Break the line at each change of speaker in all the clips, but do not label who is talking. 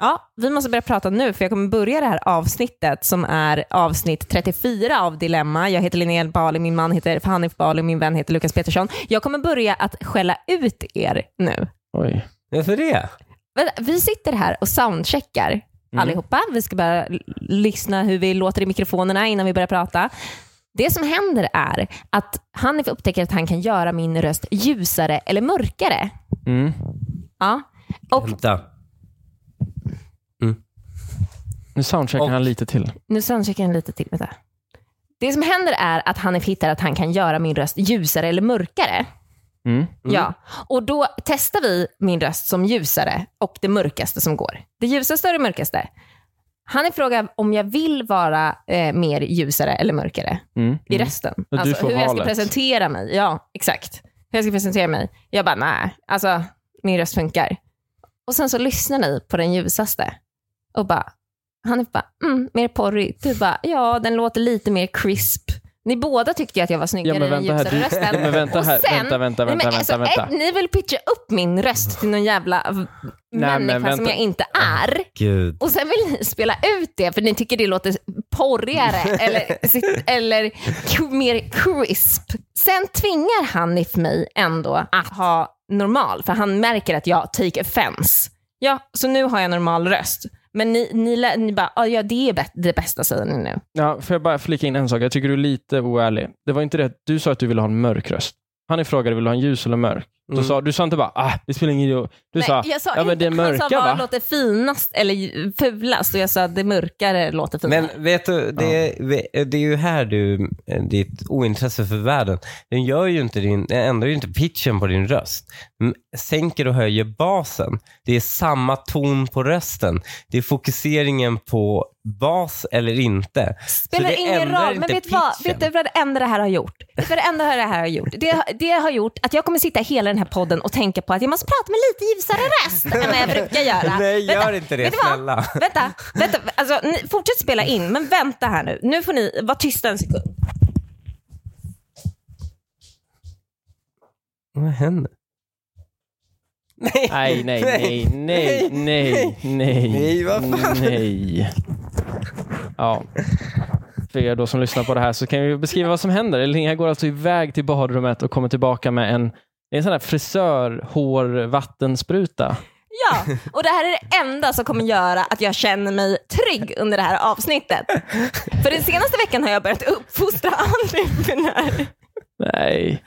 Ja, vi måste börja prata nu för jag kommer börja det här avsnittet som är avsnitt 34 av Dilemma. Jag heter Linnea Bali, min man heter Hanif Bali, min vän heter Lukas Petersson. Jag kommer börja att skälla ut er nu.
Oj.
Varför det?
Vänta, Vi sitter här och soundcheckar allihopa. Vi ska börja l- lyssna hur vi låter i mikrofonerna innan vi börjar prata. Det som händer är att Hanif upptäcker att han kan göra min röst ljusare eller mörkare.
Mm.
Ja. Och
Vänta.
Nu soundcheckar
Och-
han lite till.
Nu soundcheckar jag lite till. Vänta. Det som händer är att Hanif hittar att han kan göra min röst ljusare eller mörkare.
Mm.
Ja. Och då testar vi min röst som ljusare och det mörkaste som går. Det ljusaste och det mörkaste. Hanif frågar om jag vill vara eh, mer ljusare eller mörkare
Mm.
i rösten.
du
Alltså
får
hur jag ska
valet.
presentera mig. Ja, exakt. Hur jag ska presentera mig. Jag bara, nej, alltså min röst funkar. Och sen så lyssnar ni på den ljusaste och bara, han är bara, mm, mer porrig. Du bara, ja, den låter lite mer crisp. Ni båda tyckte ju att jag var snyggare
Ja, men
i den
vänta här,
ljusare
du-
rösten.
Ja, men vänta
och
här.
sen,
Vänta, vänta,
Nej, men
vänta,
alltså,
vänta,
ett-
vänta.
Ni vill pitcha upp min röst till någon jävla v-
men
människa som
vänta.
jag inte är.
Gud.
Och sen vill ni spela ut det för ni tycker det låter porrigare eller, sitt- eller k- mer crisp. Sen tvingar Hanif mig ändå att ha normal, för han märker att jag take offense. Ja, så nu har jag normal röst. Men ni, ni, lä- ni bara, "Ah, ja det är bä- det bästa säger ni nu.
Ja, får jag bara flika in en sak? Jag tycker du är lite oärlig. Det var inte det att du sa att du ville ha en mörk röst. Han frågade, vill du ha en ljus eller mörk? Då
Mm.
sa, du sa inte bara, ah, det spelar ingen roll. Du sa,
jag sa
ja men
inte-
det är
han
mörka
sa vad
va?
låter finast eller ju- fulast och jag sa det mörkare låter finare.
Men vet du, det, det är ju här du, eh, ditt ointresse för världen, den gör ju inte din, den ändrar ju inte pitchen på din röst. Den Sänker och höjer basen. Det är samma ton på rösten. Det är fokuseringen på bas eller inte.
Spelar
Så det
ingen
ändrar
roll, men
inte
vet, du vad,
pitchen.
vet du vad det enda det här har gjort? Vet du vad det enda det här har gjort? Det, det har gjort att jag kommer sitta hela den här podden och tänka på att jag måste prata med lite ljusare röst än vad jag brukar göra.
Nej,
Vänta,
gör inte det,
vet du vad?
snälla.
Vänta, vänta. Alltså, ni, fortsätt spela in, men vänta här nu. Nu får ni vara tysta en sekund.
Vad händer? Nej,
Nej, nej, nej, nej, nej, nej.
Nej, vad fan.
Nej. Ja. För er då som lyssnar på det här så kan vi beskriva vad som händer. Linnea går alltså iväg till badrummet och kommer tillbaka med en, det är en sån här frisörhårvattenspruta.
Ja, och det här är det enda som kommer göra att jag känner mig trygg under det här avsnittet. För den senaste veckan har jag börjat uppfostra andra
Nej.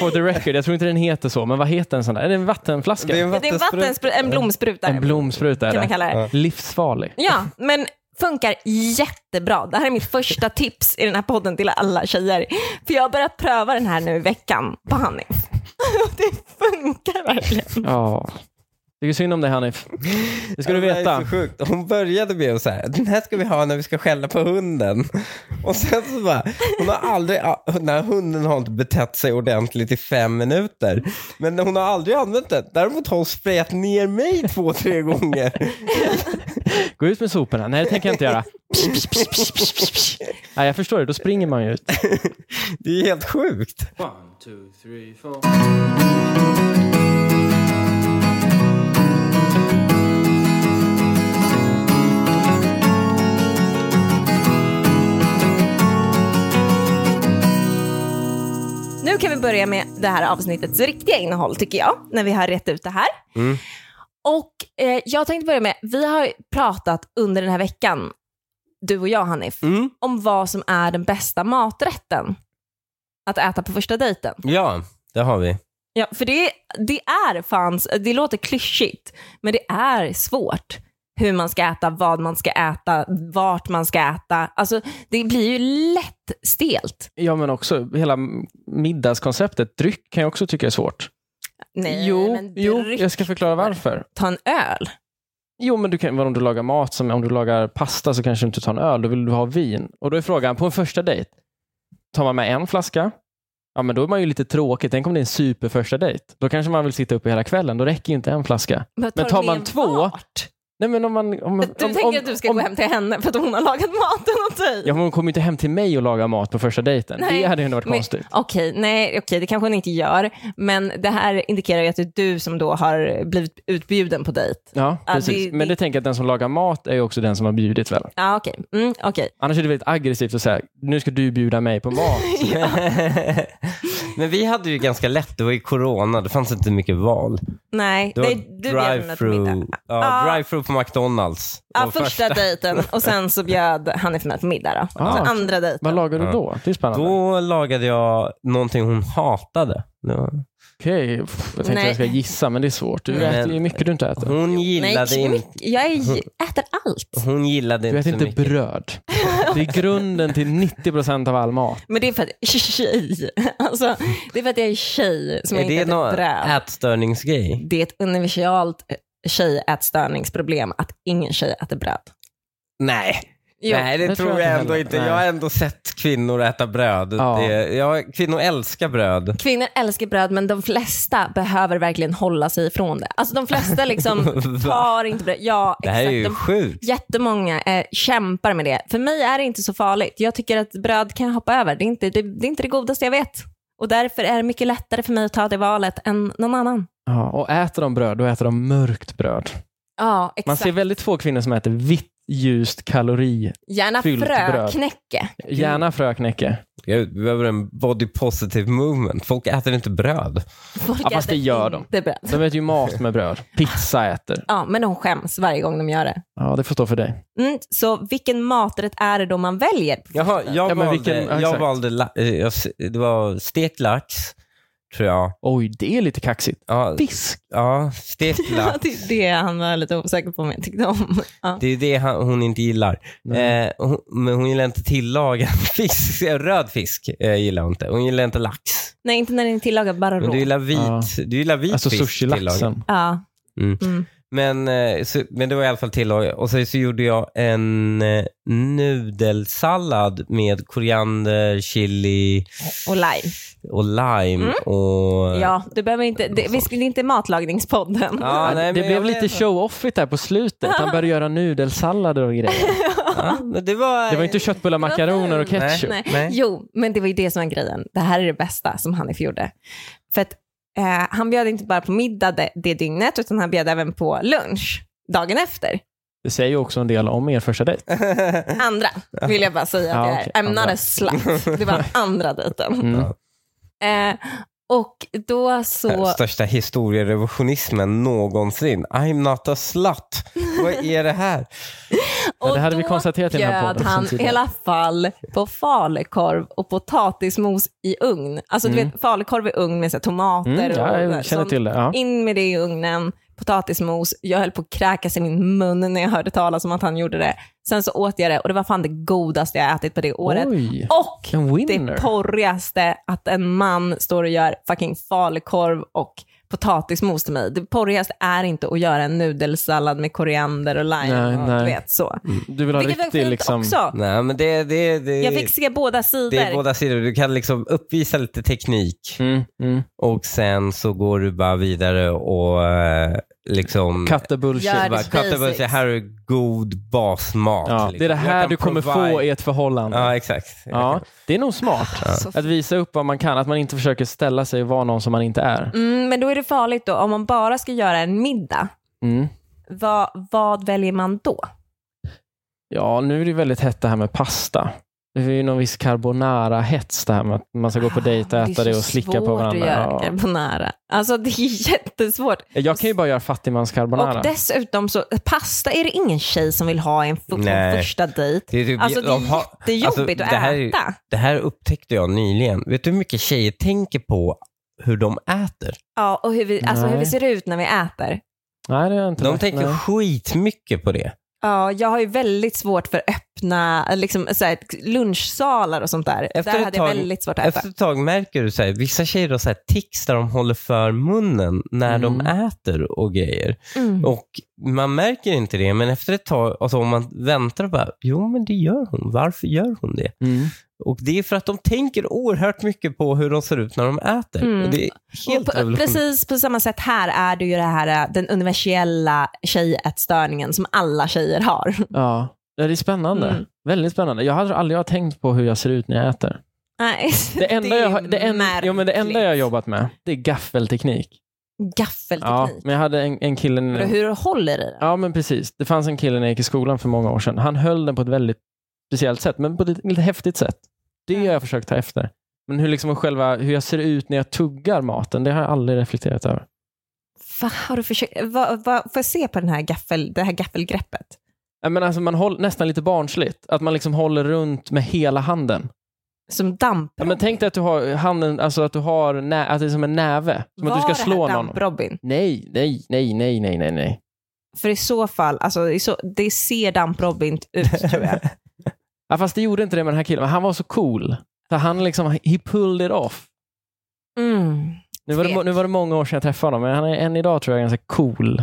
For the record, jag tror inte den heter så, men vad heter en sån där? Är det en vattenflaska?
Det är en
Det är en,
vattenspruta.
vattenspr- en blomspruta.
En blomspruta är
kan man
det.
kalla det.
Livsfarlig.
Ja, men funkar jättebra. Det här är mitt första tips i den här podden till alla tjejer. För jag har börjat pröva den här nu i veckan på Hanif. Och det funkar verkligen.
Ja. Tycker synd om dig Hanif. Det ska du
Ja, Det
veta.
är så sjukt. Hon började med att säga, den här ska vi ha när vi ska skälla på hunden. Och sen så bara, hon har aldrig, när hunden har inte betett sig ordentligt i fem minuter. Men hon har aldrig använt den. Däremot har hon sprayat ner mig två, tre gånger.
Gå ut med soporna. Nej, det tänker jag inte göra. Psh, psh, psh, psh, psh, psh, psh. Nej, jag förstår det. Då springer man ju ut.
Det är helt sjukt.
One, two, three, four.
Nu kan vi börja med det här avsnittets riktiga innehåll tycker jag, när vi har rett ut det här.
Mm.
Och eh, jag tänkte börja med, vi har pratat under den här veckan, du och jag Hanif,
Mm.
om vad som är den bästa maträtten att äta på första dejten.
Ja, det har vi.
Ja, för det, det är fans, det låter klyschigt, men det är svårt hur man ska äta, vad man ska äta, vart man ska äta. Alltså, det blir ju lätt stelt.
Ja, men också hela middagskonceptet. Dryck kan jag också tycka är svårt.
Nej,
jo,
men
jo,
dryck.
jag ska förklara varför.
Ta en öl.
Jo, men du kan, vadå, om du lagar mat, som, om du lagar pasta så kanske du inte tar en öl, då vill du ha vin. Och då är frågan, på en första dejt, tar man med en flaska? Ja, men då är man ju lite tråkig. Tänk om det är en superförsta dejt? Då kanske man vill sitta uppe hela kvällen. Då räcker ju inte en flaska.
Men,
Men
du
tar man
med
två-
vart?
Nej, men om man, om,
Du
om,
tänker
om,
att du ska
om,
gå hem till henne för att hon har lagat maten åt dig?
Ja, men hon kommer ju inte hem till mig och laga mat på första dejten.
Nej,
det hade ju ändå varit
men-
konstigt.
Okej, nej, okej, det kanske hon inte gör, men det här indikerar ju att det är du som då har blivit utbjuden på dejt.
Ja,
Ja,
precis.
det-
men
det-
det tänker jag att den som lagar mat är ju också den som har bjudit väl?
Ja, okej. Mm, okej.
Annars är det väldigt aggressivt att säga, nu ska du bjuda mig på mat.
Men vi hade ju ganska lätt, det var ju corona, det fanns inte mycket val.
Nej,
Det var
nej, du bjöd henne till middag.
drive-through ja,
Ja.
drive på McDonalds.
Ja,
Och
första, dejten och sen så bjöd Hanif mig på middag då.
Ah,
så
okej.
andra
Vad
dejten.
lagar du
Ja.
då? Det är spännande.
Då lagade jag någonting hon hatade. Det var-
Okej, pff, jag tänkte
Nej.
jag ska gissa, men det är svårt. Du
Men-
äter ju mycket du inte äter.
Hon
Nej,
gillade,
inte
in,
mycket. Jag är, äter allt.
hon gillade
Du
inte
äter
så
inte
mycket.
bröd. Det är grunden till 90% av all mat.
Men det är för att jag är tjej. Alltså, det är för att jag är tjej som
Är
inte
det
äter
någon
bröd.
ätstörningsgrej?
Det är ett universalt tjejätstörningsproblem att ingen tjej äter bröd.
Nej.
Jo.
Nej, det,
det
tror
tror jag inte
jag ändå
heller.
inte.
Nej.
Jag har ändå sett kvinnor äta bröd.
Ja.
Det, ja, kvinnor älskar bröd.
Kvinnor älskar bröd men de flesta behöver verkligen hålla sig ifrån det. Alltså de flesta liksom
Va?
tar inte bröd. Ja,
Det här är
exakt.
ju
De
sjukt.
Jättemånga eh, kämpar med det. För mig är det inte så farligt. Jag tycker att bröd kan jag hoppa över. Det är, inte, det, det är inte det godaste jag vet. Och därför är det mycket lättare för mig att ta det valet än någon annan.
Ja, och äter de bröd, då äter de mörkt bröd.
Ja,
Man
exakt.
ser väldigt få kvinnor som äter vitt, ljust, kalori.
Gärna
fyllt bröd.
fröknäcke.
Gärna fröknäcke.
Gud, vi behöver en body positive movement. Folk äter inte bröd.
Folk
Ja, fast det
äter
gör de.
inte bröd.
De äter ju mat med bröd. Pizza äter.
Ja, men de skäms varje gång de gör det.
Ja, det får stå för dig.
Mm, så vilken maträtt är det då man väljer?
Jaha, jag
Ja, men
valde,
vilken- ja,
jag
exakt.
valde la, eh, jag, s- det var stekt lax, tror jag.
Oj, det är lite kaxigt.
Ja,
Fisk.
ja stekt
Ja,
lax.
det är det han var lite osäker på om jag tyckte om. Ja.
Det är det han, hon inte gillar.
Nej.
Eh, hon, men hon gillar inte tillagad fisk. Röd fisk eh, gillar hon inte. Hon gillar inte lax.
Nej, inte när den är tillagad, bara
Men
rå.
du gillar vit,
Ja.
du gillar vit
Alltså
fisk tillagad.
sushi-laxen.
Ja.
Mm.
Mm.
Men, eh, så, men det var i alla fall tillagad. Och sen så gjorde jag en eh, nudelsallad med koriander, chili
Och lime.
och lime. Och,
Ja, du behöver inte, det, vi skulle inte matlagningspodden.
Ja, nej,
det
men
blev
jag
lite
vet.
show-offigt där på slutet. Han började göra nudelsallader och grejer.
Ja, men det var...
Det var inte köttbullar, makaroner och ketchup.
Nej.
Nej.
Jo, men det var ju det som var grejen. Det här är det bästa som Hanif gjorde. För att eh, han bjöd inte bara på middag det, det dygnet, utan han bjöd även på lunch dagen efter.
Det säger ju också en del om er första dejt.
Andra, vill jag bara säga. att
Ja,
det är.
okej,
I'm not
andra.
a slut. Det var andra dejten.
Mm.
Eh, och då så...
Eh, Största historierevisionismen någonsin. I'm not a slut. Vad är det här?
Ja, det hade
och
vi
då
konstaterat i den här
bjöd
podden
han
sen
i
tidigare.
alla fall på falukorv och potatismos i ugn. Alltså du vet, falukorv i ugn med så här, tomater
Mm, ja,
och
jag känner
sånt.
till det. Ja.
In med det i ugnen, potatismos. Jag höll på att kräkas i min mun när jag hörde talas om att han gjorde det. Sen så åt jag det och det var fan det godaste jag ätit på det året.
Oj,
Och
en winner.
det porrigaste att en man står och gör fucking falukorv och potatismos till mig. Det porrigaste är inte att göra en nudelsallad med koriander och lime.
Nej,
och,
nej.
Du vet, så.
Du vill ha
Vilket var
riktig
fint
liksom...
också.
Nej, men det, det, det,
Jag fick se båda sidor.
det är båda sidor. Du kan liksom uppvisa lite teknik.
Mm, mm.
Och sen så går du bara vidare och eh, liksom...
Cut the bullshit.
Gör
bara,
Basics.
cut the bullshit. Här är god basmat.
Ja,
liksom.
det är det
Jag
här
kan
du kommer
provide-
få i ett förhållande.
Ja, exakt.
Ja, det är nog smart.
Så-
Att visa upp vad man kan, att man inte försöker ställa sig och vara någon som man inte är.
Mm, men då är det farligt då. Om man bara ska göra en middag,
Mm.
vad, vad väljer man då?
Ja, nu är det väldigt hett det här med pasta. Det är ju någon viss carbonara-hets det här med att man ska gå på dejt och
Ah,
äta det, och slicka på varandra.
Det är så svårt att göra
Ja.
carbonara. Alltså det är jättesvårt.
Jag kan ju bara göra fattigmans-carbonara.
Och dessutom så, pasta är det ingen tjej som vill ha en f- som
Nej.
första dejt.
Det är typ,
Alltså det är
de har- alltså,
jättejobbigt
det här
att
är-
äta.
Det här upptäckte jag nyligen. Vet du hur mycket tjejer tänker på hur de äter?
Ja, och hur vi, alltså, hur vi
Nej.
ser ut när vi äter.
Nej, det är inte
De
lätt,
tänker
nej.
skitmycket på det.
Ja, jag har ju väldigt svårt för öppna, liksom, så här, lunchsalar och sånt där.
Efter
där
ett
hade jag
tag-
väldigt svårt att äta.
Efter ett tag märker du så här, vissa tjejer har så här tics där de håller för munnen när de äter och grejer.
Mm.
Och man märker inte det, men efter ett tag, alltså om man väntar och bara, jo men det gör hon, varför gör hon det?
Mm.
Och det är för att de tänker oerhört mycket på hur de ser ut när de äter.
Mm.
Och det är
Och
helt
på,
revolutionärt.
precis på samma sätt här är det ju det här, äh, den universella tjejätstörningen som alla tjejer har.
Ja. Ja, det är spännande.
Mm.
Väldigt spännande. Jag hade aldrig jag har tänkt på hur jag ser ut när jag äter.
Nej,
Det enda, jag, har-
är
det en, jo, men det enda jag har
märkligt.
jobbat med, det är gaffelteknik. Ja,
Gaffelteknik.
men jag hade en, en kille...
Vadå, Hur håller i den?
Ja, men precis. Det fanns en kille när jag gick i skolan för många år sedan. Han höll den på ett väldigt speciellt sätt, men på ett lite häftigt sätt. Det har jag försökt ta efter. Men hur, liksom själva, hur jag ser ut när jag tuggar maten, det har jag aldrig reflekterat över.
Vad har du försökt, vad, vad, får jag se på den här gaffel, det här gaffelgreppet?
Ja, Men alltså, man håller, nästan lite barnsligt, att man liksom håller runt med hela handen.
Som damp
Ja, men tänk dig att du har handen, alltså att du har nä, att det är som en näve, som att du ska slå
det här
någon.
damp, Robin?
Nej, nej, nej, nej, nej, nej, nej.
För i så fall, alltså, i så, det ser damp Robin ut tror jag.
Ja, fast det gjorde inte det med den här killen, men han var så cool. Så han liksom, he pulled it off.
Mm.
Nu var, det,
Tvek.
nu var det många år sedan jag träffade honom, men han är än idag tror jag ganska cool.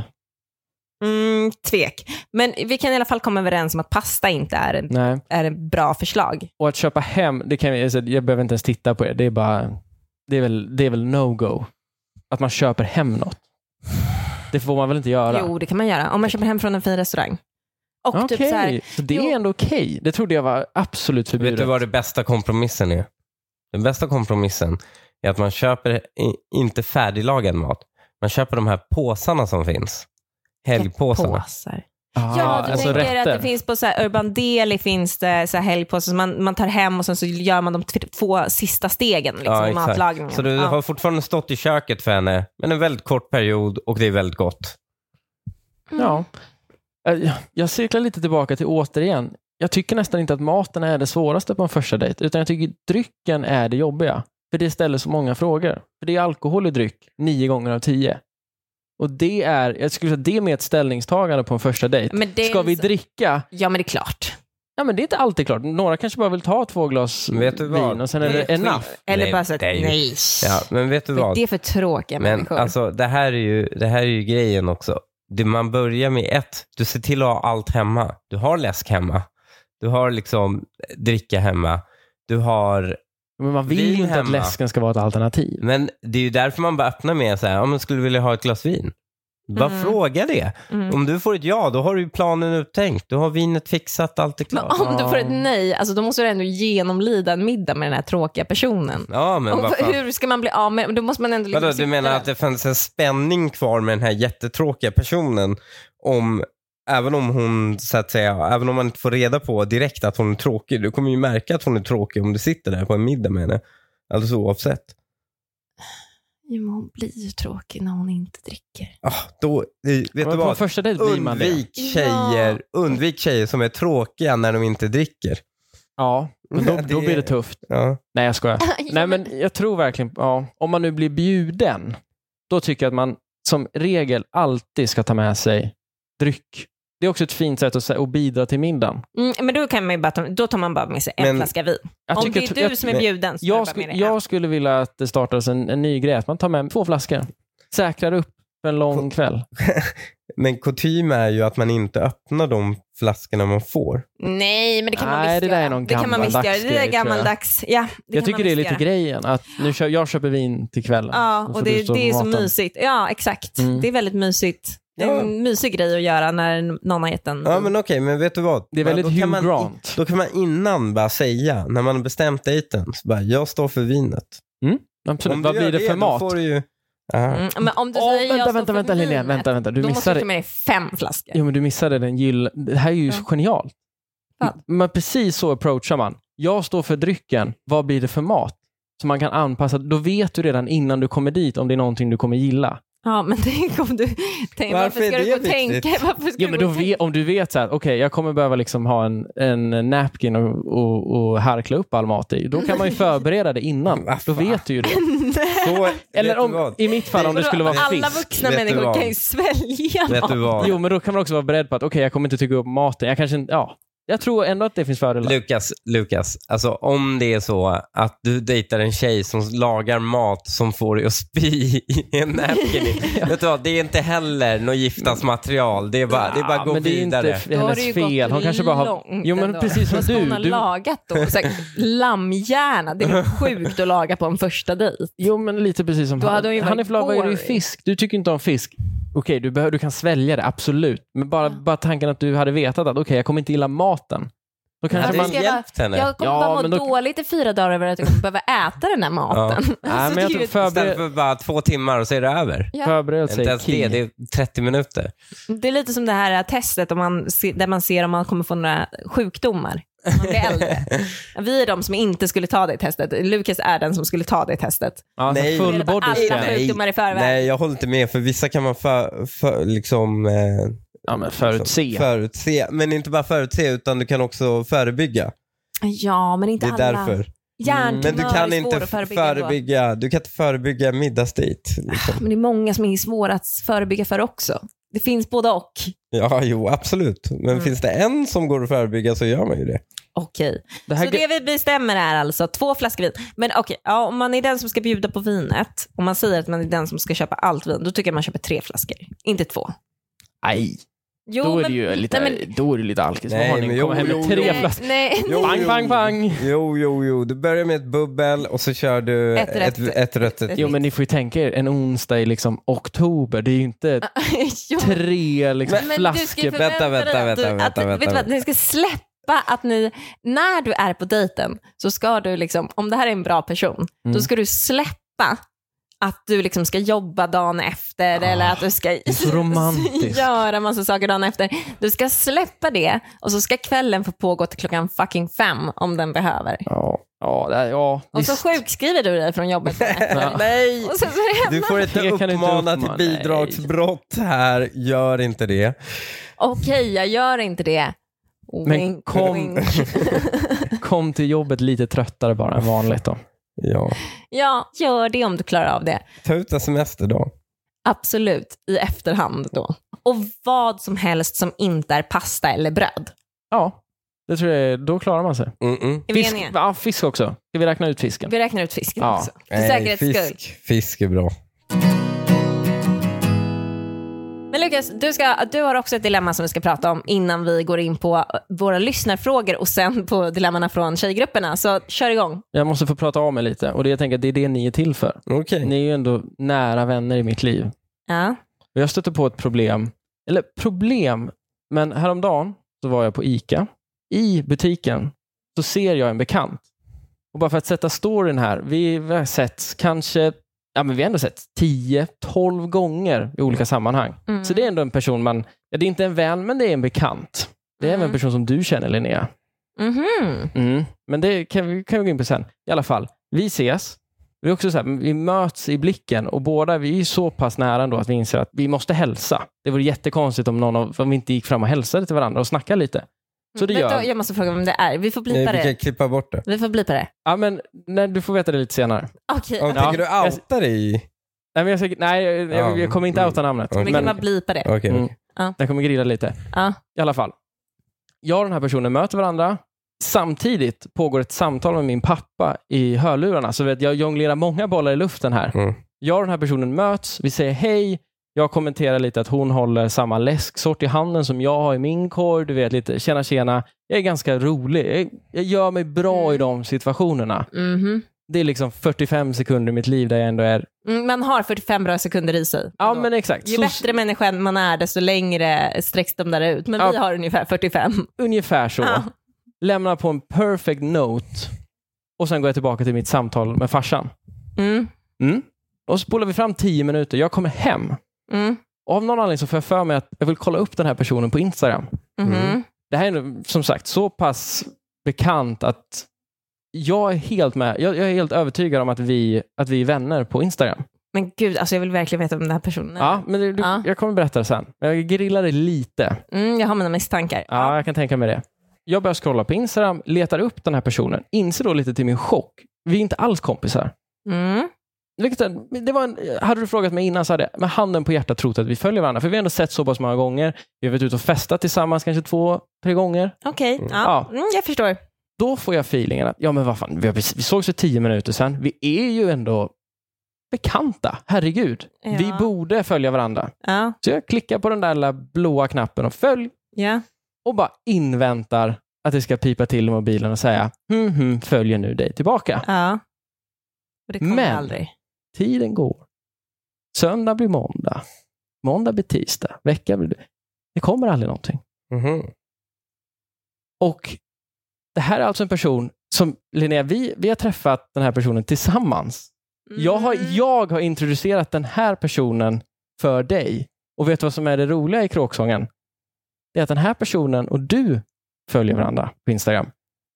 Mm, tvek. Men vi kan i alla fall komma överens om att pasta inte är, en,
Nej.
är ett bra förslag.
Och att köpa hem, det kan, vi- alltså, jag behöver inte ens titta på det. Det är, bara, det är väl, det är väl no-go. Att man köper hem något. Det får man väl inte göra?
Jo, det kan man göra. Om man köper hem från en fin restaurang. Och
Okej,
typ så här,
så det
jo.
är ändå okej. Det trodde jag var absolut
Vet
förbjudet.
du vad det bästa kompromissen är? Den bästa kompromissen är att man köper i- inte färdiglagad mat. Man köper de här påsarna som finns. Helgpåsarna.
påsar.
Ah,
Ja, du
alltså
tänker
rätter.
att det finns på så här, Urban Deli finns det så här helgpåsar som man, man tar hem och sen så gör man de t- två sista stegen liksom,
Ja,
i
exakt.
matlagningen.
Så du
ja.
har fortfarande stått i köket för henne, men en väldigt kort period och det är väldigt gott.
Ja.
Mm.
Eh, Jag cirklar lite tillbaka till återigen. Jag tycker nästan inte att maten är det svåraste på en första dejt, utan jag tycker drycken är det jobbiga. För det ställer så många frågor. För det är alkohol i dryck nio gånger av tio. Och det är, jag skulle säga att det är med ett ställningstagande på en första dejt.
Men det är
Ska vi
så-
dricka?
ja, men det är klart.
Ja, men det är inte alltid klart. Några kanske bara vill ta två glas
Men Vet du vad?
vin och sen är
Det
det
skit.
enough.
Eller
Nej,
bara så att,
det är ju-
nej.
Ja, men vet du
Men
vad?
det är för tråkiga
Men
människor.
alltså, det här är ju, det här är ju grejen också. Det, man börjar med ett, du ser till att ha allt hemma. Du har läsk hemma. Du har liksom dricka hemma. Du har,
Men man vill
Vin
ju inte att
hemma.
läsken ska vara ett alternativ.
men det är ju därför man bara öppnar med så här, ja men skulle du vilja ha ett glas vin? Bara
Mm.
fråga det.
Mm.
Om du får ett ja, då har du ju planen uttänkt. Du har vinet fixat, allt är
Men
klart.
om du får ett nej, alltså, då måste du ändå genomlida en middag med den här tråkiga personen.
Ja, men
Och
vad fan.
hur ska man bli av med, då måste man ändå
Vadå,
liksom
du menar
sitta
att det fanns en spänning kvar med den här jättetråkiga personen om Även om hon, så att säga, även om man inte får reda på direkt att hon är tråkig. Du kommer ju märka att hon är tråkig om du sitter där på en middag med henne. Alldeles oavsett.
Jo, men hon blir ju tråkig när hon inte dricker.
Ah, då, eh, vet
Men
du
på en
vad?
första dejt blir man det.
Undvik tjejer, undvik tjejer som är tråkiga när de inte dricker.
Ja, men då,
Det-
då blir det tufft.
Ja.
Nej, jag skojar.
Ja,
Nej, men jag tror verkligen, ja, om man nu blir bjuden, då tycker jag att man som regel alltid ska ta med sig dryck. Det är också ett fint sätt att, sä- att bidra till middagen.
Mm, men då, kan man ju bara ta, då tar man bara med sig en
Men-
flaska vin.
Jag
Om
tycker-
det är du
jag,
som är
nej.
bjuden så tar du
jag,
bara med
sku,
dig en.
jag skulle vilja att det startas en, en ny grej, att man tar med två flaskor. Säkrar upp för en lång kväll.
Men kutym är ju att man inte öppnar de flaskorna man får.
Nej, men det kan man
Nej,
visst
det där är
göra.
någon
det kan man visst göra.
gammaldags
Det där är
grej, tror jag.
gammaldags. Ja, det
jag
kan
tycker
man
det är
visst
lite
göra.
grejen, att nu kö, jag köper vin till kvällen.
Ja,
Då får
och
du
det,
stå
det är
på
så
maten.
mysigt. Ja, exakt.
Mm.
Det är väldigt mysigt. Det är en mysig grej att göra när någon har gett en
Ja men okej, men vet du vad?
Det är
Men
väldigt
då kan
Hugh
man-
Grant.
Då kan man innan bara säga, när man har bestämt dejten, så bara, jag står för vinet.
Absolut.
Om
Vad
du
blir
gör
det för
då
mat?
får du ju... Aha.
Mm, men om du
Åh,
säger jag
vänta,
står
vänta,
för
vänta Linnea.
vinet,
Vänta, vänta. Du
då måste
missade
du ta med dig fem flaskor.
Jo, men du missade den gyll... Det här är ju
Ja.
genialt.
Fan.
Men precis så approachar man. Jag står för drycken. Vad blir det för mat? Så man kan anpassa. Då vet du redan innan du kommer dit om det är någonting du kommer gilla.
Ja, men tänk om du... Tänk,
Varför
varför,
är
ska du
det
gå och
viktigt?
tänka? Varför ska
Jo,
du
men
gå
då
och
ve- om du vet så här, okej, jag kommer behöva liksom ha en, en napkin och, och, och harkla upp all mat i. Då kan man ju förbereda det innan.
Vad
Då
fan.
vet du ju det.
Så, vet
Eller
du
om,
vad?
i mitt fall, om det
Vadå,
skulle vara
Alla
fisk.
vuxna
Vet du
människor
vad?
kan ju svälja
Vet du
mat.
vad?
Jo, men då kan man också vara beredd på att okej, jag kommer inte tycka upp maten. Jag kanske inte, ja. Jag tror ändå att det finns fördelar.
Lukas, Lukas, alltså om det är så att du dejtar en tjej som lagar mat som får dig att spy i en napkin. Vet du vad, det är inte heller något giftasmaterial. Det är bara, det är bara att gå
Ah, men det är
vidare.
inte
Då har
hennes
det ju
fel.
gått
Hon kanske bara har...
långt
Jo, men
ändå.
precis som
Vad ska
du.
hon ha
du...
lagat då? Så här, lammhjärna, det är sjukt att laga på en första dejt.
Jo, men lite precis som
Då
han.
hade hon ju varit
Hanif Lawa, är ju
boring.
fisk? Du tycker inte om fisk. Okej, du, behöver- du kan svälja det, absolut. Men
Ah.
bara, bara tanken att du hade vetat att okej, jag kommer inte gilla maten. Då
Det
kanske
hade
Ja,
man...
det Alltså, ska-
hjälpt henne.
Jag kommer
Ja,
bara må
men då-
dåligt i fyra dagar över att jag kommer behöva äta den här maten.
Nej, men jag
det är
tror
ju-
Istället
förber...
för bara två timmar och så är det över.
Ja.
förberedelse
Inte
är
ens det,
key.
det är 30 minuter.
Det är lite som det här testet om man, se- där man ser om man kommer få några sjukdomar när man blir äldre. Vi är de som inte skulle ta det testet. Lukas är den som skulle ta det testet.
Ja, alltså
Nej. Alltså,
Nej, full
Eller bara
body
alla
scan.
sjuk- sjukdomar i förväg.
Nej, jag håller inte med. För vissa kan man för, för, liksom, eh, liksom,
Ja, men förutse.
förutse. Men inte bara förutse, utan du kan också förebygga.
Ja, men inte
Det är
alla.
därför.
Hjärntumör
Men du kan
Mm. är svår
inte
att förebygga. ändå.
förebygga, du kan inte förebygga middagsdejt. Liksom.
Men det är många som är svåra att förebygga för också. Det finns både och.
Ja, jo, absolut. Men
Mm.
finns det en som går att förebygga så gör man ju det.
Okej.
Det här
Så det vi bestämmer är alltså två flaskor vin. Men okej, ja, om man är den som ska bjuda på vinet, om man säger att man är den som ska köpa allt vin, då tycker jag man köper tre flaskor, inte två.
Nej,
Jo,
då är
men-
det ju lite,
nej, men-
då är det lite alkis.
Nej,
Nej, har
men
ni? Komma
jo,
hem
jo,
med tre
jo.
flaskor.
Nej,
Jo,
Bang,
jo.
bang, bang.
Jo, jo, jo. Du börjar med ett bubbel och så kör du
Ett
ett,
rätt.
ett rött. Ett,
Jo, men ni får ju tänka er en onsdag i liksom oktober. Det är ju inte
jo.
tre liksom,
Men du ska ju
flaskor.
förvänta
Vänta, vänta,
dig att du-
vänta,
att-
vänta,
Vet du vad,
vänta.
ni ska släppa att ni, när du är på dejten, så ska du liksom, om det här är en bra person, då
Mm.
ska du släppa att du liksom ska jobba dagen efter
Ah,
eller att du ska
är så romantiskt.
göra massa saker dagen efter. Du ska släppa det och så ska kvällen få pågå till klockan fucking fem om den behöver.
Ja, ja, det här, ja
Och så
visst.
sjukskriver du dig från jobbet. dagen efter.
Nej!
och sen så är det
Du får inte
Det kan du inte
uppmana till
uppmana, nej.
bidragsbrott här. Gör inte det.
okej jag gör inte det.
Men
Wink,
kom-
wink.
Kom till jobbet lite tröttare bara än vanligt då.
Ja.
Ja, gör det om du klarar av det.
Ta ut en semesterdag.
Absolut, i efterhand då. Och vad som helst som inte är pasta eller bröd.
Ja, det tror jag, är- då klarar man sig.
Mm-mm.
Är vi
Fisk,
eniga?
ja, fisk också. Ska vi räkna ut fisken?
Vi räknar ut fisken
Ja.
också. För
Nej,
säkerhets skull.
fisk, fisk är bra.
Men Lukas, du, ska, du har också ett dilemma som vi ska prata om innan vi går in på eh, våra lyssnarfrågor och sen på dilemmana från tjejgrupperna. Så kör igång.
Jag måste få prata av mig lite. Och det jag tänker att det är det ni är till för.
Okej.
Mm.
Ni är ju ändå nära vänner i mitt liv.
Ja.
Och jag stötte på ett problem. Eller problem, men häromdagen så var jag på ICA. I butiken så ser jag en bekant. Och bara för att sätta storyn här. Vi vi har sett kanske, ja men vi har ändå sett 10-12 gånger i olika sammanhang.
Mm.
Så det är ändå en person man, ja det är inte en vän men det är en bekant. Det är även en
Mm.
person som du känner Linnea.
Mhm.
Mm. Men det kan vi, kan vi gå in på sen. I alla fall, vi ses. Vi, är också så här, vi möts i blicken och båda vi är ju så pass nära ändå att vi inser att vi måste hälsa. Det vore jättekonstigt om, någon av, om vi inte gick fram och hälsade till varandra och snackade lite. Så det
Vänta,
gör vi.
Jag måste fråga vem det är. Vi får
Nej,
blipa
vi kan
det.
klippa bort det.
Vi får blipa det.
Ja, men, nej, du får veta det lite senare.
Okej,
Ja,
men
Ja.
Tänker du outa dig? i-
Nej, men jag, ska, nej, jag, jag, jag kommer inte outa namnet.
Ja,
vi
men-
kan bara blipa det.
Okej.
Mm.
Ja.
Den kommer grilla lite.
Ja.
I alla fall. Jag och den här personen möter varandra. Samtidigt pågår ett samtal med min pappa i hörlurarna. Så vet, jag jonglerar många bollar i luften här.
Mm.
Jag och den här personen möts. Vi säger hej. Jag kommenterar lite att hon håller samma läsksort i handen som jag har i min korg. Du vet lite, tjena tjena. Jag är ganska rolig. Jag, jag gör mig bra
Mm.
i de situationerna.
Mhm.
Det är liksom 45 sekunder i mitt liv där jag ändå är...
Mm, Man har 45 bra sekunder i sig.
Ja
Då.
men exakt.
Ju
Så-
bättre människa man är, desto längre sträcks de där ut. Men
Ja.
vi har ungefär 45.
Ungefär så.
Ja.
lämnar på en perfect note och sen går jag tillbaka till mitt samtal med farsan.
Mm,
Och så spolar vi fram tio minuter. Jag kommer hem.
mm,
Och av någon anledning så får jag för mig att jag vill kolla upp den här personen på Instagram.
mhm.
Mm.
Det här är nu, som sagt så pass bekant att jag är helt med. Jag, jag är helt övertygad om att vi, att vi är vänner på Instagram.
Men gud, alltså jag vill verkligen veta om den här personen.
Ja, men det, du,
Ja.
Jag kommer berätta det sen. Men Jag grillar det lite.
Mm, jag har mina misstankar.
Ja, jag kan tänka mig det. Jag börjar scrolla på Instagram, letar upp den här personen, inser då lite till min chock. Vi är inte alls kompisar.
Mm.
Vilket, är- det var en, hade du frågat mig innan så hade jag med handen på hjärtat trott att vi följer varandra. För vi har ändå sett så pass många gånger. Vi har varit ute och festat tillsammans kanske två, tre gånger.
Okej, ja.
Ja.
Mm, jag förstår.
Då får jag feelingen att, ja men vad fan, vi, har precis, vi sågs för tio minuter sedan. Vi är ju ändå bekanta. Herregud.
Ja.
Vi borde följa varandra.
Ja,
Så jag klickar på den där lilla blåa knappen och följ
ja.
och bara inväntar att det ska pipa till i mobilen och säga hm, hm, följer nu dig tillbaka.
ja. Och det kommer
Men-
aldrig.
Tiden går. Söndag blir måndag. Måndag blir tisdag. Vecka blir... Det kommer aldrig någonting.
Mhm.
Och det här är alltså en person som, Linnea, vi, vi har träffat den här personen tillsammans. Jag, har,
Mm.
jag har introducerat den här personen för dig. Och vet du vad som är det roliga i kråksången? Det är att den här personen och du följer varandra på Instagram.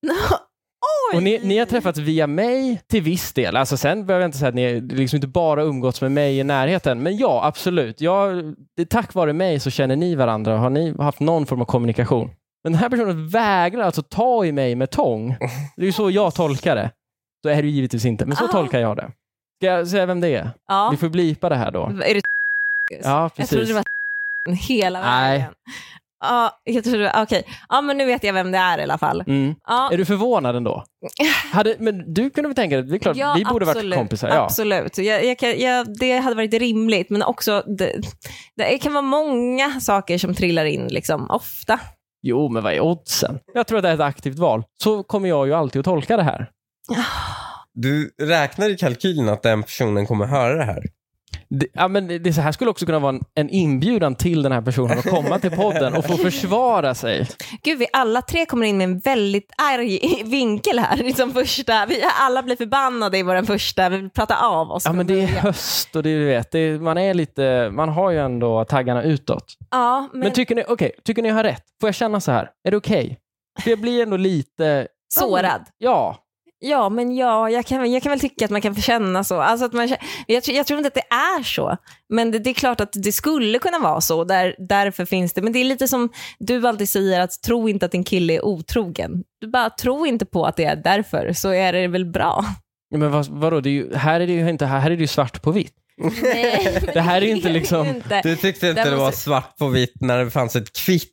Oj!
Och ni, ni har träffats via mig till viss del. Alltså sen behöver jag inte säga att ni liksom inte bara umgåtts med mig i närheten. Men ja, absolut. Jag, det, tack vare mig så känner ni varandra och har ni haft någon form av kommunikation. Men den här personen vägrar alltså ta i mig med tång. Det är ju så jag tolkar det. Så är det ju givetvis inte, men så
Ah.
tolkar jag det. Ska jag säga vem det är?
Ja.
Vi får blipa det här då.
Är det
Ja,
Jag trodde det
precis.
var hela
Nej.
vägen. Ja, jag trodde det var, okej. Ja, men nu vet jag vem det är i alla fall.
Mm.
Ja,
Är du förvånad ändå? Hade, men du kunde väl tänka dig, det är klart,
ja,
vi borde
absolut,
varit kompisar. Ja.
Absolut. Jag, jag kan, jag, det hade varit rimligt, men också det, det kan vara många saker som trillar in liksom, ofta.
Jo, men vad är oddsen? Jag tror att det är ett aktivt val. Så kommer jag ju alltid att tolka det här.
Du räknar i kalkylen att den personen kommer höra det här?
Det, ja, men det- det så här skulle också kunna vara en, en inbjudan till den här personen att komma till podden och få försvara sig.
Gud, vi alla tre kommer in med en väldigt arg vinkel här. Liksom första, vi alla blir förbannade i vår första, vi vill prata av oss.
Ja, men det är höst och det, du vet, det, är- man, är lite, man har ju ändå taggarna utåt.
ja, men,
Men, tycker, ni, okay, tycker ni jag har rätt? Får jag känna så här? Är det okej? För jag blir ändå lite...
sårad.
Ja.
Ja, men ja, jag kan, jag kan väl tycka att man kan få känna så. Alltså att man, kä- jag, tror- jag tror inte att det är så, men det, det är klart att det skulle kunna vara så. Där, därför finns det. Men det är lite som du alltid säger, att tro inte att en kille är otrogen. Du bara tro inte på att det är därför, så är det väl bra.
Ja, Men vad, vadå, det är ju, här är det ju inte, här är det ju svart på vitt.
Nej,
Det här är ju inte liksom-
Du tyckte inte
Där
det var
måste-
svart på vitt när det fanns ett kvitto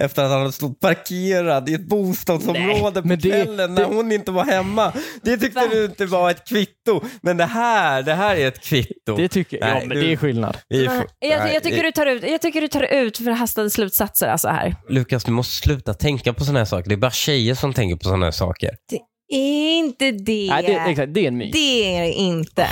efter att han hade stått parkerad i ett bostadsområde
men
på
det-
kvällen när
det-
hon inte var hemma. Det tyckte du inte var ett kvitto. Men det här, det här är ett kvitto.
Det tycker jag.
Nej,
Ja, men
du-
det är skillnad.
Vi får-
Nej, Jag,
Nej,
jag, tycker du tar ut, jag tycker du tar ut förhastade slutsatser alltså här.
Lukas, du måste sluta tänka på sådana här saker. Det är bara tjejer som tänker på sådana här saker.
Är inte det...
Nej, det, exakt, det är en myt.
det är det inte.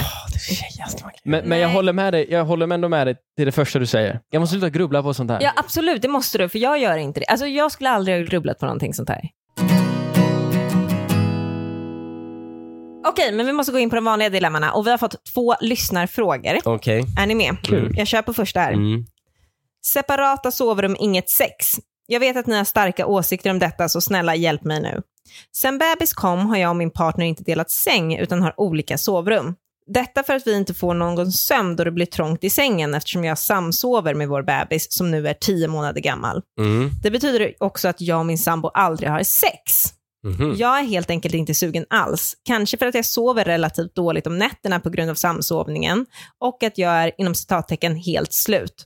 Men, men jag,
Nej.
håller med dig, jag håller ändå med dig till det första du säger. Jag måste sluta grubbla på sånt här.
Ja, absolut, det måste du, för jag gör inte det. Alltså, jag skulle aldrig ha grubblat på någonting sånt här. Okej, men vi måste gå in på de vanliga dilemmana och vi har fått två lyssnarfrågor.
Okej.
Är ni med?
Kul.
Jag kör på första här.
Mm.
Separata sovrum, inget sex. Jag vet att ni har starka åsikter om detta, så snälla hjälp mig nu. Sen bebis kom har jag och min partner inte delat säng, utan har olika sovrum. Detta för att vi inte får någon sömn då det blir trångt i sängen eftersom jag samsover med vår bebis som nu är 10 månader gammal.
Mm.
Det betyder också att jag och min sambo aldrig har sex.
Mhm.
Jag är helt enkelt inte sugen alls. Kanske för att jag sover relativt dåligt om nätterna på grund av samsovningen och att jag är inom citattecken helt slut.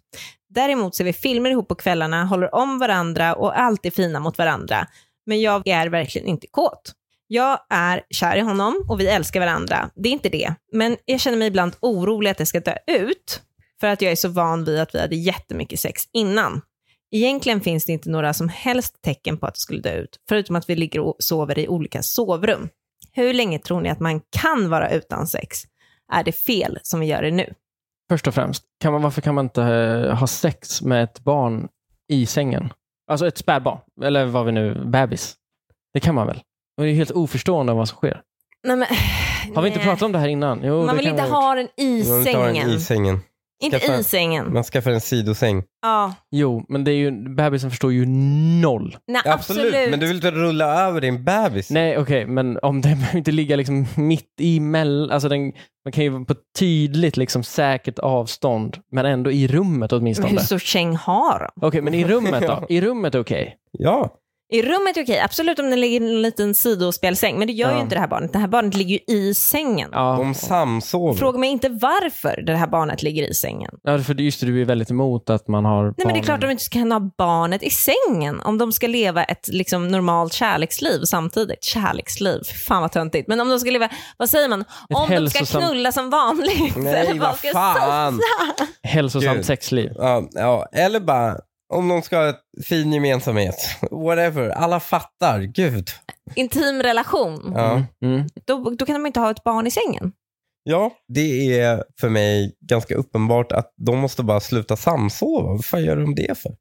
Däremot ser vi filmer ihop på kvällarna, håller om varandra och är alltid fina mot varandra. Men jag är verkligen inte kåt. Jag är kär i honom och vi älskar varandra. Det är inte det. Men jag känner mig ibland orolig att det ska dö ut för att jag är så van vid att vi hade jättemycket sex innan. Egentligen finns det inte några som helst tecken på att det skulle dö ut, förutom att vi ligger och sover i olika sovrum. Hur länge tror ni att man kan vara utan sex? Är det fel som vi gör det nu?
Först och främst, kan man, varför kan man inte eh, ha sex med ett barn i sängen? Alltså ett spädbarn, eller vad vi nu, bebis. Det kan man väl? Och det är helt oförstående vad som sker.
Nej, men,
Har vi inte pratat om det här innan? Jo,
Man
det
vill
kan
inte
vi ha gjort.
ha den i
Man vill ta
sängen.
den i sängen.
inte
Skaffa-
i sängen.
Man skaffar en sidosäng.
Ja,
Jo, men det är ju, bebisen förstår ju noll.
nej,
Absolut.
absolut.
men du vill inte rulla över din bebis.
Nej, okej, men om den behöver inte ligga liksom mitt emellan. Alltså den, man kan ju vara på ett tydligt liksom säkert avstånd, men ändå i rummet
Men hur
åtminstone.
stor säng har de?
Okej, men i rummet då? I rummet är okej.
Ja.
I rummet är okej, absolut om den ligger i en liten sidospjälsäng, men det gör
Ja.
ju inte det här barnet. Det här barnet ligger ju i sängen.
Ja,
De samsover.
Fråga mig inte varför det här barnet ligger i sängen.
ja, för just det, du är väldigt emot att man har
Nej, men det är klart att de inte kan ha barnet i sängen om de ska leva ett liksom, normalt kärleksliv samtidigt. Kärleksliv, fy fan vad töntigt. Men om de ska leva, vad säger man, om de ska
hälsosamt-
knulla som vanligt.
Nej, vad
ska jag
fan.
hälsosamt
Gud.
sexliv.
Ja, ja, eller bara om de ska ha ett fin gemensamhet. Whatever. Alla fattar. Gud.
säga? Intim relation.
Ja.
Mm. Mm.
Då, då kan de inte ha ett barn i sängen.
Ja, det är för mig ganska uppenbart att de måste bara sluta samsova. Vad fan gör de det för?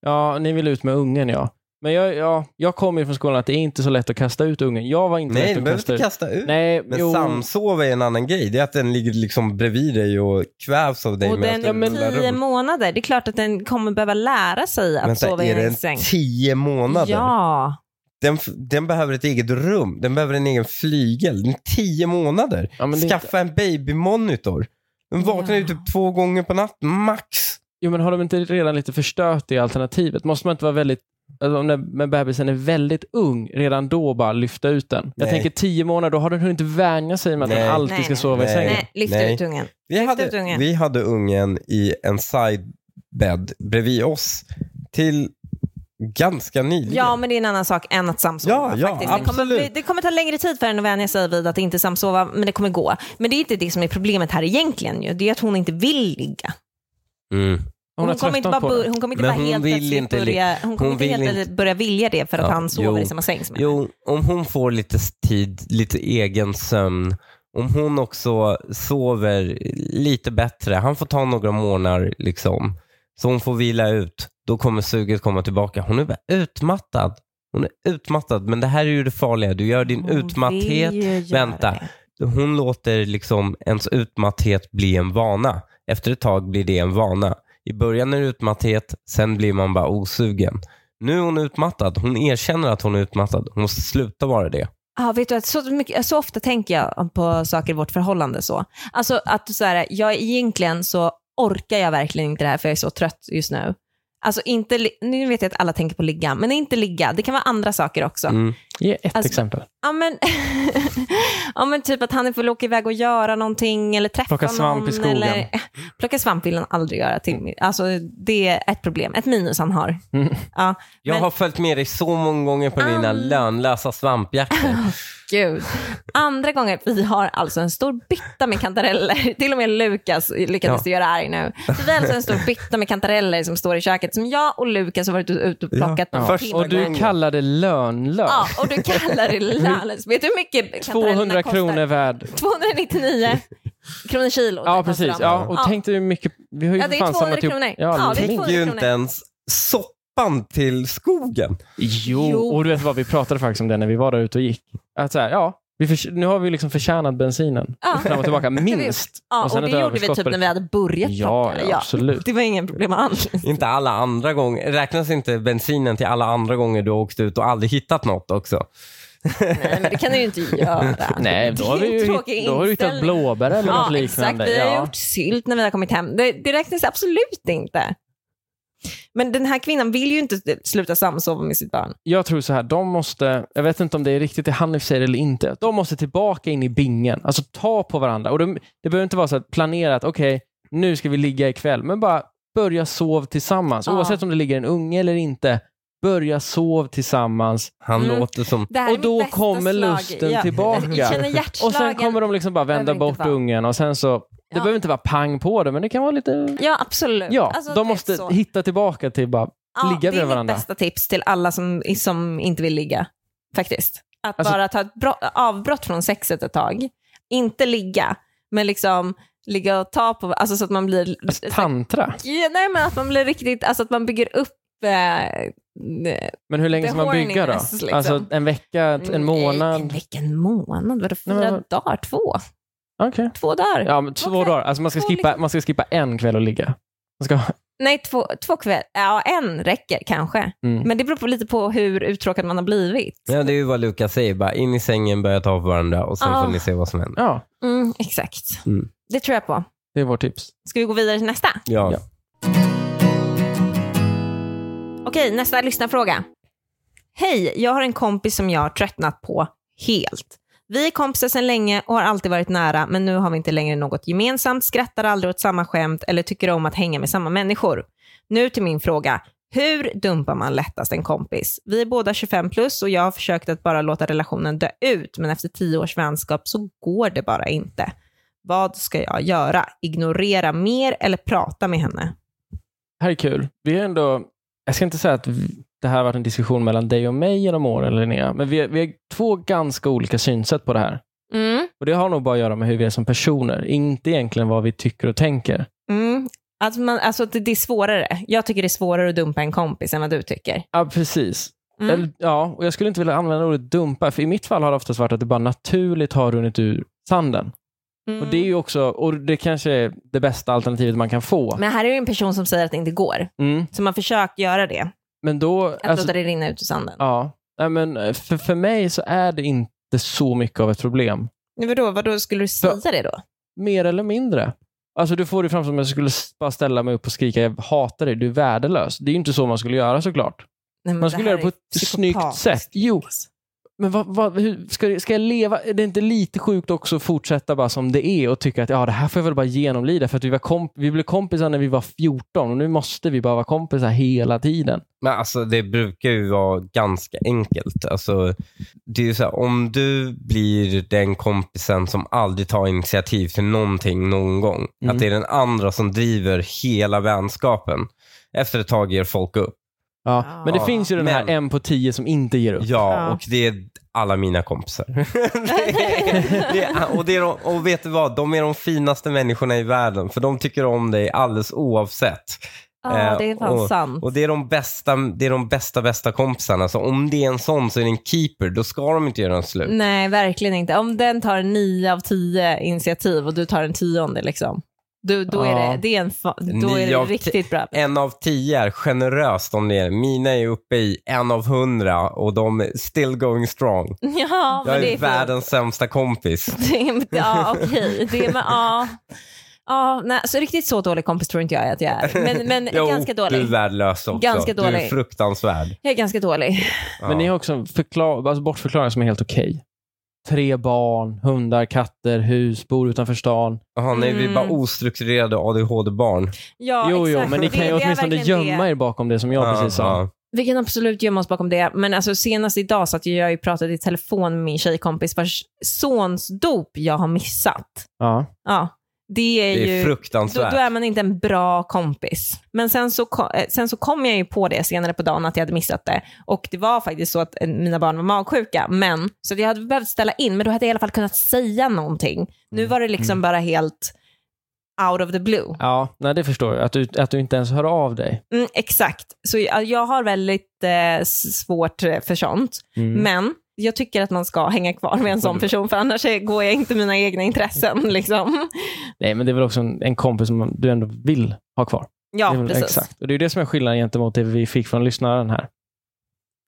Ja, ni vill ut med ungen ja. Men jag, ja, jag kommer ju från skolan att det är inte så lätt att kasta ut ungen. Jag var inte
Nej,
lätt
du
att
behöver
kasta
inte
ut.
kasta ut.
Nej,
Men
jo.
samsova är en annan grej. Det är att den ligger liksom bredvid dig och kvävs av dig.
och
medan
den
du
är
rullar
tio
runt.
månader. Det är klart att den kommer behöva lära sig att
Men så här,
sova i
är
en
den
säng.
tio månader?
Ja.
Den, f- den behöver ett eget rum. Den behöver en egen flygel. Den är tio månader.
Ja, men det är
Skaffa en babymonitor. Den vaknar ju
Ja.
typ två gånger på natten, max.
Jo, men har de inte redan lite förstört det alternativet? Måste man inte vara väldigt, alltså, om den- när bebisen är väldigt ung, redan då bara lyfta ut den? Jag
Nej.
tänker tio månader, då har den hunnit vänja sig med att
Nej.
den alltid
Nej,
ska
nej,
sova i
nej.
sängen.
Nej, lyft
Nej.
ut ungen.
Vi
Lyft ut
hade,
ungen.
vi hade ungen i en sidebed bredvid oss till ganska nyligen.
Ja, men det är en annan sak än att samsova.
Ja, ja,
faktiskt. Det, kommer,
absolut.
det- det kommer ta längre tid för henne att vänja sig vid att inte samsova, men det kommer gå. Men det är inte det som är problemet här egentligen. Ju. Det är att hon inte vill ligga.
Mm.
Hon, har
kommer inte
tröttnat
bara,
på
bur-
det.
hon kommer inte
Men
bara
hon
helt
vill
plötsligt
inte ligga.
börja, hon kommer
Hon
inte
vill
helt
inte-
plötsligt börja vilja det för att
Ja,
han sover
jo.
i samma säng som henne.
Jo, om hon får lite tid, lite egen sömn, om hon också sover lite bättre, han får ta några månader liksom, så hon får vila ut, då kommer suget komma tillbaka. Hon är bara utmattad. Hon är utmattad, men det här är ju det farliga. Du gör din
Hon
utmatthet
vill ju göra
vänta.
det.
hon låter liksom ens utmatthet bli en vana. Efter ett tag blir det en vana. I början är det utmatthet, sen blir man bara osugen. Nu är hon utmattad. Hon erkänner att hon är utmattad. Hon måste sluta vara det.
Ja, Ah, vet du, att så, mycket, så ofta tänker jag på saker i vårt förhållande så. Alltså att så här, jag egentligen så orkar jag verkligen inte det här för jag är så trött just nu. Alltså inte, li- nu vet jag att alla tänker på ligga, men inte ligga. Det kan vara andra saker också.
Mm.
Ge ett
Alltså-
exempel.
Ja, men, ja, men typ att han får åka iväg och göra någonting eller träffa
Plocka svamp
någon.
i skogen.
Eller, plocka svamp vill han aldrig göra. Till, mig. alltså, det är ett problem, ett minus han har.
Mm.
Ja,
Jag
men-
har följt med dig så många gånger på dina
An-
lönlösa svampjakter.
Gud. Andra gången, vi har alltså en stor bytta med kantareller. Till och med Lukas lyckades göra arg nu. Vi har alltså en stor bytta med kantareller som står i köket som jag och Lukas har varit ute och plockat
Ja.
någon
Först-
timme.
Och du
gången.
kallar det lönlöst.
Ja, och du kallar det lönlöst. Vet du hur mycket kantarellerna
200
kostar?
kronor värd.
299 kronor kilo.
Ja, precis. Ja, och
Ja.
tänk dig hur mycket... Vi har ju
Ja,
för
det är
fan
200
samlat ihop...
kronor.
Ja,
Ja, det är
minst.
Tänker ju inte ens soppan till skogen.
Jo.
Jo.
och du vet vad vi pratade faktiskt om det när vi var där ute och gick. Att så här, ja, vi förs- nu har vi liksom förtjänat bensinen.
Ja.
Fram och tillbaka, minst.
Ja, och,
sen ett
det gjorde vi
överskott
typ
på det.
när vi hade börjat
Ja,
plocka.
ja, absolut.
Det var inga problem alls.
Inte alla andra gånger. Räknas inte bensinen till alla andra gånger du har åkt ut och aldrig hittat något också?
Nej, men det kan du ju inte göra.
Nej, då har,
Det är
vi
en
ju
tråkig
hitt, då har du hittat
inställning.
blåbär eller
Ja,
något liknande.
exakt. Vi har
Ja.
gjort sylt när vi har kommit hem. Det, det räknas absolut inte. Men den här kvinnan vill ju inte sluta samsova med sitt barn.
Jag tror så här, de måste, jag vet inte om det är riktigt det Hanif säger eller inte, de måste tillbaka in i bingen. Alltså ta på varandra. Och de, det behöver inte vara så att planerat, okej, nu ska vi ligga ikväll, men bara börja sov tillsammans.
Ja.
Oavsett om det ligger en unge eller inte, börja sov tillsammans.
Han
Mm.
låter som...
Det här är
Och
mitt
då
bästa
kommer
slag.
lusten
Ja.
tillbaka.
Jag känner
Och sen
hjärtslagen.
kommer de liksom bara vända
Behöver
bort
inte vara.
ungen och sen så, det
Ja.
behöver inte vara pang på det, men det kan vara lite...
Ja, absolut.
Ja,
Alltså,
de
det är
måste
så.
hitta tillbaka till bara,
Ja,
ligga bredvid varandra.
Det är mitt bästa tips till alla som, som inte vill ligga, faktiskt. Att
Alltså-
bara ta ett bro- avbrott från sexet ett tag. Inte ligga, men liksom ligga och ta på, alltså så att man blir...
alltså, tantra.
Ja, nej, men att man blir riktigt, alltså att man bygger upp eh,
Men hur länge
The
ska man bygga då?
horniness, liksom. Mm,
Alltså en vecka, t- en
En
månad?
vecka, Eh, en månad? Vadå, fyra
Nej, men-
dagar? Två?
Okej.
Två dagar?
Ja, men två
Okej.
dagar. Alltså man ska,
Två liksom-
skippa, man ska skippa en kväll och ligga. Man ska,
Nej, två, två kväll. Ja, en räcker kanske.
mm.
Men det beror på lite på hur uttråkad man har blivit.
Ja, det är ju vad Lukas säger. Bara in i sängen, börja ta på varandra och sen
Ah.
får ni se vad som händer.
Ja,
Mm, exakt.
Mm.
Det tror jag på.
det är vårt tips.
Ska vi gå vidare till nästa?
Ja.
Okej, nästa lyssnarfråga. Hej, jag har en kompis som jag har tröttnat på helt. Vi är kompisar sedan länge och har alltid varit nära, men nu har vi inte längre något gemensamt, skrattar aldrig åt samma skämt eller tycker om att hänga med samma människor. Nu till min fråga. Hur dumpar man lättast en kompis? Vi är båda 25 plus och jag har försökt att bara låta relationen dö ut, men efter 10 års vänskap så går det bara inte. Vad ska jag göra? Ignorera mer eller prata med henne?
Det här är kul. Vi är ändå, jag ska inte säga att vi- det här har varit en diskussion mellan dig och mig genom åren, Linnea, men vi är, vi är två ganska olika synsätt på det här.
Mm.
Och Det har nog bara att göra med hur vi är som personer, inte egentligen vad vi tycker och tänker.
Mm. Alltså, man, alltså det, det är svårare. Jag tycker det är svårare att dumpa en kompis än vad du tycker.
Ja, precis.
Mm.
Eller, ja, och jag skulle inte vilja använda ordet dumpa, för i mitt fall har det oftast varit att det bara naturligt har runnit ur sanden.
Mm.
Och Det är ju också, och det kanske är det bästa alternativet man kan få.
Men här är ju en person som säger att det inte går.
Mm.
Så man försöker göra det.
Men då,
Att låta det rinna ut ur sanden.
Alltså- ja, Nej, men eh, för, för mig så är det inte så mycket av ett problem.
Men Vadå, vadå, skulle du säga det då?
Mer eller mindre. Alltså Du får det fram som om jag skulle s- bara ställa mig upp och skrika jag hatar dig, du är värdelös. Det är ju inte så man skulle göra såklart.
Nej, men
Man
det
skulle
här
göra det på
är
ett snyggt
psykopatiskt.
sätt. Jo, men vad, vad, hur, ska, ska jag leva? Är det inte lite sjukt också att fortsätta bara som det är och tycka att ja, det här får jag väl bara genomlida för att vi, var komp- vi blev kompisar när vi var 14 och nu måste vi bara vara kompisar hela tiden.
Men alltså det brukar ju vara ganska enkelt. Alltså, det är ju så här, om du blir den kompisen som aldrig tar initiativ till någonting någon gång.
Mm.
Att det är den andra som driver hela vänskapen. Efter ett tag ger folk upp.
Ja.
Ja.
Men det finns ju den här
Men-
en på tio som inte ger upp.
Ja,
Ja.
och det är alla mina kompisar. det är, det är, och, det är de, och vet du vad? De är de finaste människorna i världen. För de tycker om dig alldeles oavsett.
Ja, det är fan
Eh, och-
sant.
Och det är de bästa, det är de bästa, bästa kompisarna. Så om det är en sån så är det en keeper. Då ska de inte göra en slut.
Nej, verkligen inte. Om den tar nio av tio initiativ och du tar en tionde, liksom. du, då är
Ja.
det, det, är en fa- då är
Nio
det
av ti-
riktigt bra.
En av tio är generöst om det är. Mina är uppe i en av hundra och de är still going strong.
Ja, men
Jag
det
är,
är fint.
världens sämsta kompis.
Det är- Ja, okej. Det är med, ja. Ja, nej, så riktigt så dålig kompis tror inte jag att jag är. Men, men
Jo,
ganska dålig.
Du är värdelös också.
Ganska
Du är
dålig.
fruktansvärd.
Jag är ganska dålig.
Ja.
Men ni har också en förklar- alltså bortförklaring som är helt okej. Tre barn, hundar, katter, hus, bor utanför stan.
Jaha, nej, vi är bara
Mm.
ostrukturerade ADHD-barn.
Ja,
jo, jo,
exakt.
men ni kan
Det-
ju
det är
åtminstone
verkligen
gömma
det.
er bakom det som jag precis sa.
Vi kan absolut gömma oss bakom det. Men alltså, senast idag satt ju jag och pratade i telefon med min tjejkompis vars sons dop jag har missat.
Ja.
Ja, det är,
Det är
ju... Då,
fruktansvärt.
då är man inte en bra kompis. Men sen så, ko- eh, sen så kom jag ju på det senare på dagen att jag hade missat det. Och det var faktiskt så att eh, mina barn var magsjuka. Men, så att jag hade behövt ställa in, men då hade jag i alla fall kunnat säga någonting.
Mm.
Nu var det liksom bara helt out of the blue.
ja, nej det förstår jag. Att du, att du inte ens hör av dig.
Mm, exakt. Så jag, jag har väldigt eh, s- svårt eh, för sånt.
Mm.
Men jag tycker att man ska hänga kvar med en sån person, för annars eh, går jag inte mina egna intressen. Liksom.
Nej, men det är väl också en, en kompis som du ändå vill ha kvar. det är
Ja,
väl,
precis.
Exakt. Och det är ju det som är skillnaden gentemot det vi fick från lyssnaren här.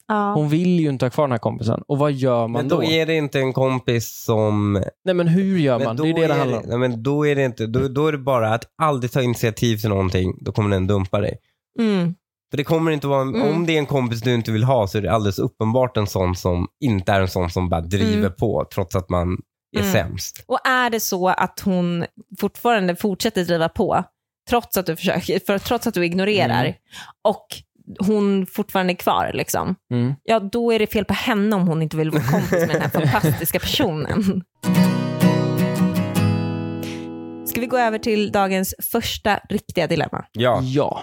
Ja.
Hon vill ju inte ha kvar den här kompisen. Och vad gör man
Men
då?
då är det inte en kompis som...
Nej, men hur gör man?
men
Det är
då
ju det det handlar
det-
om.
nej, men då är det inte... Då, då är det bara att aldrig ta initiativ till någonting. Då kommer den dumpa dig.
Mm.
För det kommer inte vara... en-
Mm.
Om det är en kompis du inte vill ha så är det alldeles uppenbart en sån som inte är en sån som bara driver
Mm.
på trots att man är
Mm.
sämst.
Och är det så att hon fortfarande fortsätter driva på, trots att du försöker, för, trots att du ignorerar,
Mm.
och hon fortfarande är kvar, liksom,
Mm.
ja då är det fel på henne om hon inte vill vara kompis med den här fantastiska personen. Ska vi gå över till dagens första riktiga dilemma?
Ja.
Ja.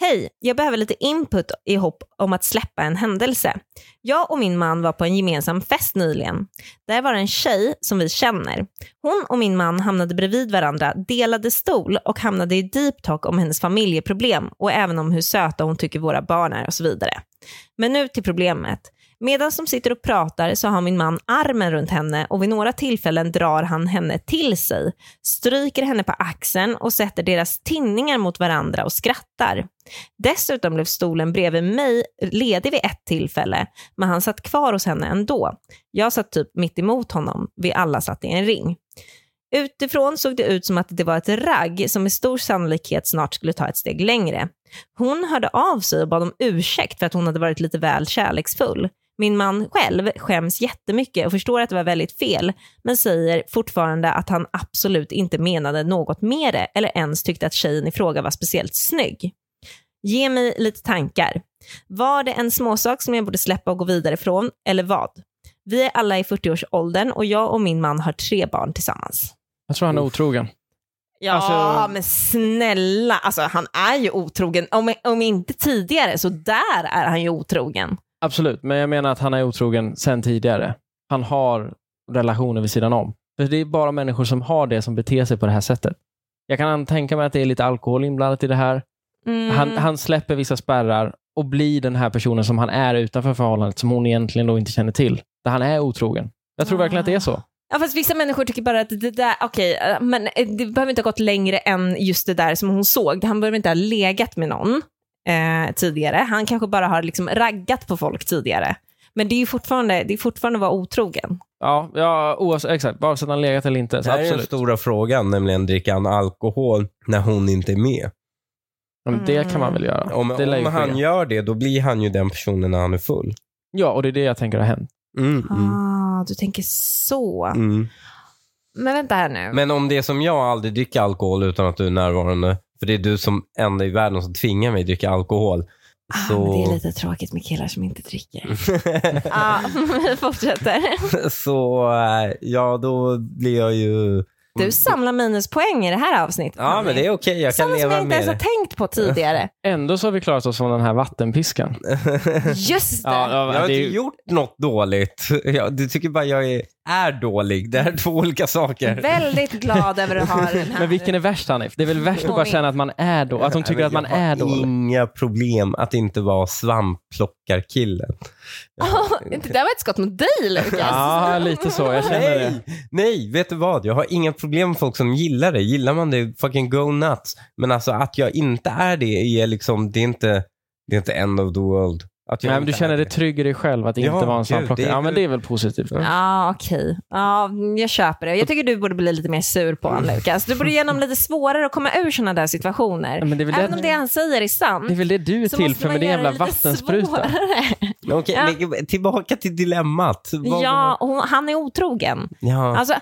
Hej, jag behöver lite input i hopp om att släppa en händelse. Jag och min man var på en gemensam fest nyligen. Där var en tjej som vi känner. Hon och min man hamnade bredvid varandra, delade stol och hamnade i deep talk om hennes familjeproblem och även om hur söta hon tycker våra barn är och så vidare. Men nu till problemet. Medan de sitter och pratar så har min man armen runt henne och vid några tillfällen drar han henne till sig, stryker henne på axeln och sätter deras tinningar mot varandra och skrattar. Dessutom blev stolen bredvid mig ledig vid ett tillfälle, men han satt kvar hos henne ändå. Jag satt typ mitt emot honom, vi alla satt i en ring. Utifrån såg det ut som att det var ett ragg som med stor sannolikhet snart skulle ta ett steg längre. Hon hörde av sig och bad om ursäkt för att hon hade varit lite väl kärleksfull. Min man själv skäms jättemycket och förstår att det var väldigt fel, men säger fortfarande att han absolut inte menade något med det eller ens tyckte att tjejen i fråga var speciellt snygg. Ge mig lite tankar. Var det en småsak som jag borde släppa och gå vidare ifrån, eller vad? Vi är alla i 40-årsåldern och jag och min man har tre barn tillsammans.
Jag tror han är otrogen.
Ja,
Alltså-
men snälla. Alltså, han är ju otrogen. Om, om inte tidigare, så där är han ju otrogen.
Absolut, men jag menar att han är otrogen sen tidigare. Han har relationer vid sidan om. För Det är bara människor som har det som beter sig på det här sättet. Jag kan tänka mig att det är lite alkohol inblandat i det här.
Mm.
Han, han släpper vissa spärrar och blir den här personen som han är utanför förhållandet, som hon egentligen då inte känner till. Där han är otrogen. Jag tror verkligen att det är så.
Ja, fast vissa människor tycker bara att det där, okej, eh, men eh, det behöver inte ha gått längre än just det där som hon såg. Han behöver inte ha legat med någon eh, tidigare. Han kanske bara har liksom raggat på folk tidigare. Men det är ju fortfarande, det är fortfarande att vara otrogen.
Ja, ja oavsett, exakt. Vare sig han legat eller inte.
Det
Så
här är den
absolut.
stora frågan, nämligen dricker han alkohol när hon inte är med?
Ja, men Det kan man
Mm.
väl göra.
Om,
det lär ju
om
ske.
han gör det, då blir han ju den personen när han är full.
Ja, och det är det jag tänker har hänt.
Mm, mm,
Ah, du tänker så.
mm.
Men vänta här nu.
Men om det är som jag, aldrig dricker alkohol utan att du är närvarande, för det är du som enda i världen som tvingar mig att dricka alkohol.
Ah,
Så-
men det är lite tråkigt med killar som inte dricker. Ja, vi fortsätter.
Så eh, ja, då blir jag ju...
Du samlar minuspoäng i det här avsnittet.
Ja, men det är okej. Jag kan
Sådana som jag
leva
inte
med
ens har
det.
tänkt på tidigare.
Ändå så har vi klarat oss från den här vattenpiskan.
Just det.
Ja, ja,
Jag har
det är
inte
ju-
gjort något dåligt. Jag, du tycker bara jag är, är dålig. Det här är två olika saker.
Väldigt glad över att ha den här.
Men vilken är värst Hanif? Det är väl värst att bara känna att man är då, att de tycker
Nej,
att
men
man
jag
är
har
dålig.
inga problem att inte vara svampplockarkillen.
Åh, det där var ett skott mot dig, Lukas.
Ja, lite så. Jag känner det.
Nej, nej, vet du vad? Jag har inga problem med folk som gillar det. Gillar man det, fucking go nuts. Men alltså att jag inte är det är liksom, det är inte, det är inte end of the world. Att jag
Nej, men du
inte
känner
är
dig trygg i dig själv att inte
Ja,
vara en
gud,
svampplockare.
det är
Ja, men
ju-
det är väl positivt.
Ja.
Ja, okej. Ja, jag köper det. Jag tycker du borde bli lite mer sur på honom, Lukas. Du borde ge honom lite svårare att komma ur sådana där situationer.
Men det är väl
Även
det-
om det han säger är sant.
Det är väl det du är
så
till
måste
för
man
med din
göra
jävla
det lite
vattenspruta.
svårare.
Okej, men tillbaka till dilemmat. Vad-
Ja, hon, han är otrogen.
ja.
Alltså, ä-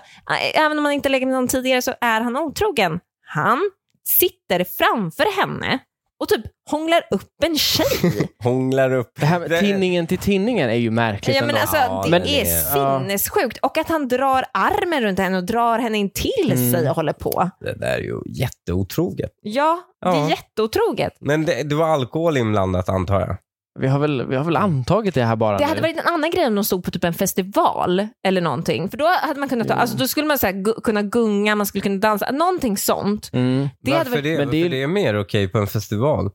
även om han inte lägger med någon tidigare så är han otrogen. Han sitter framför henne och typ hånglar upp en tjej.
Hånglar upp.
Det här med
Det-
tinningen till tinningen är ju märkligt
ja, men
ändå.
alltså,
Ja,
det
men
är
det-
ja.
sinnessjukt. Och att han drar armen runt henne och drar henne in till
Mm.
sig och håller på.
Det där är ju jätteotroget.
Ja, det är
Ja.
jätteotroget.
Men det, det var alkohol inblandat antar jag.
Vi, har väl, vi har väl antagit det här bara
Det
nu.
hade varit en annan grej om de stod på typ en festival eller någonting. För då hade man kunnat ta, alltså då skulle man så här, gu- kunna gunga, man skulle kunna dansa, någonting sånt.
Mm.
Det
Varför
hade varit...
Men
det?
det är-
Varför det är mer okej på en festival?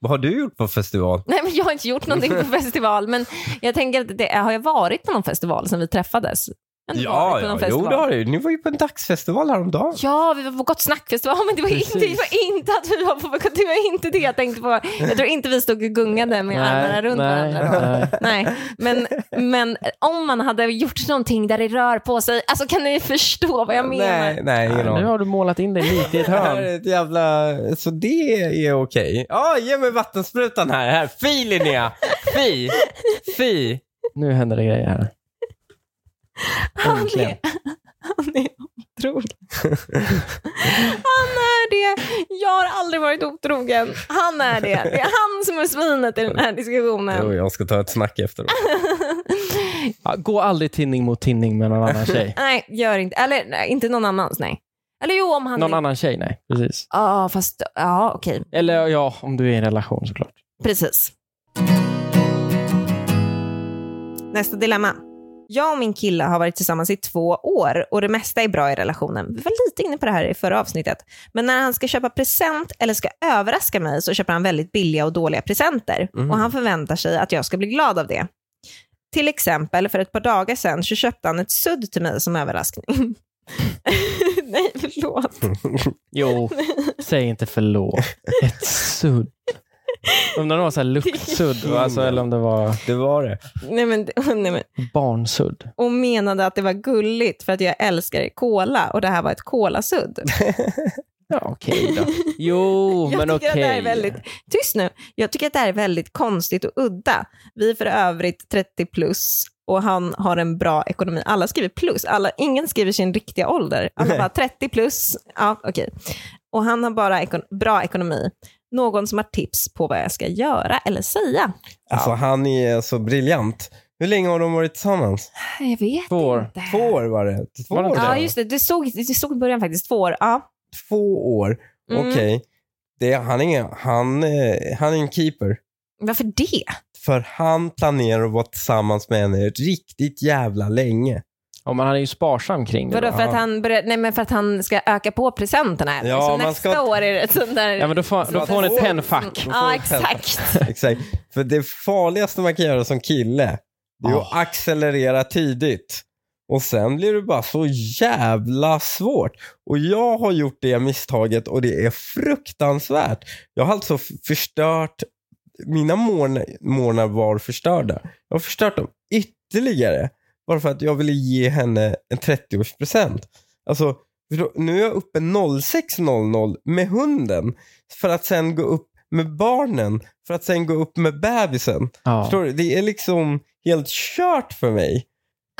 Vad har du gjort på festival?
Nej men jag har inte gjort någonting på festival men jag tänker att det, har jag varit på någon festival sen vi träffades? Jag har inte
Ja,
varit på någon
ja jo
festival.
det har du. Ni var ju på en dagsfestival häromdagen.
Ja, vi var på Gott Snack-festival men det var, inte, det
Precis.
var inte att vi var på, det var inte det jag tänkte på. Jag tror inte vi stod och gungade med armarna runt
nej,
varandra då.
nej.
Nej, men, men om man hade gjort någonting där det rör på sig, alltså kan ni förstå vad jag menar?
nej, nej, ingen
Nu
aning.
har du målat in dig lite i ett
Det här
hörn.
är ett jävla... Så det är okej. Ja, ge mig vattensprutan här. här. Fy Linnea! Fy! Fy!
Nu händer det grejer här. Äntligen.
Han är otrogen. Han är det. Jag har aldrig varit otrogen. Han är det. Det är han som är svinet i den här
Jo,
diskussionen.
jag ska ta ett snack efteråt.
Ja, Gå aldrig tinning mot tinning med någon annan tjej.
Nej, gör inte. Eller nej, inte någon annans, nej. Eller jo, om han...
Någon annan tjej, nej. Precis.
Ja, fast... Ja, okej.
Eller ja, om du är i en relation såklart.
Precis. Nästa dilemma. Jag och min kille har varit tillsammans i två år och det mesta är bra i relationen. Vi var lite inne på det här i förra avsnittet. Men när han ska köpa present eller ska överraska mig så köper han väldigt billiga och dåliga presenter.
Mm.
Och han förväntar sig att jag ska bli glad av det. Till exempel för ett par dagar sedan så köpte han ett sudd till mig som överraskning. Nej, förlåt.
Jo, säg inte förlåt. Ett sudd. Undrar om det var så här luktsudd, va? alltså, eller om det var
Det var det.
Nej, men, nej, men.
barnsudd.
och menade att det var gulligt för att jag älskar cola och det här var ett kolasudd.
Ja, okej då. Jo,
Jag
Oh, men
tycker
okej.
att det här är väldigt, tyst nu, jag tycker att det här är väldigt konstigt och udda. Vi är för övrigt 30 plus och han har en bra ekonomi. Alla skriver plus, alla, ingen skriver sin riktiga ålder. Alla
Nej.
bara 30 plus, ja okej. Och han har bara ekon- bra ekonomi. Någon som har tips på vad jag ska göra eller säga.
Alltså han är så briljant. Hur länge har de varit tillsammans?
Jag vet
Två år.
inte.
Två år var det. Två
Var det
år.
inte
Ja just det, det stod, det stod i början faktiskt, två år. Ja.
Två år.
Mm.
Okej. Det är- Han, är ingen- han, eh, han är en keeper.
Varför det?
För han planerar att vara tillsammans med henne riktigt jävla länge.
Ja, men han är ju sparsam kring det.
Vadå,
då.
för att,
Ja.
han börjar, nej, men för att han ska öka på presenterna? eller?
Ja,
så
man
nästa
ska-
år är det ett sånt där...
Ja, men då får, då får hon ett
Två-
pennfack.
Ja, exakt.
Exakt. För det farligaste man kan göra som kille, det är att
Ah.
accelerera tidigt. Och sen blir det bara så jävla svårt. Och jag har gjort det misstaget och det är fruktansvärt. Jag har alltså f- förstört, mina mån- månar var förstörda. Jag har förstört dem ytterligare. Bara för att jag ville ge henne en 30-årspresent. Alltså, förstå- nu är jag uppe 06.00 med hunden. För att sen gå upp med barnen. För att sen gå upp med bebisen.
Ja.
Förstår du? Det är liksom helt kört för mig.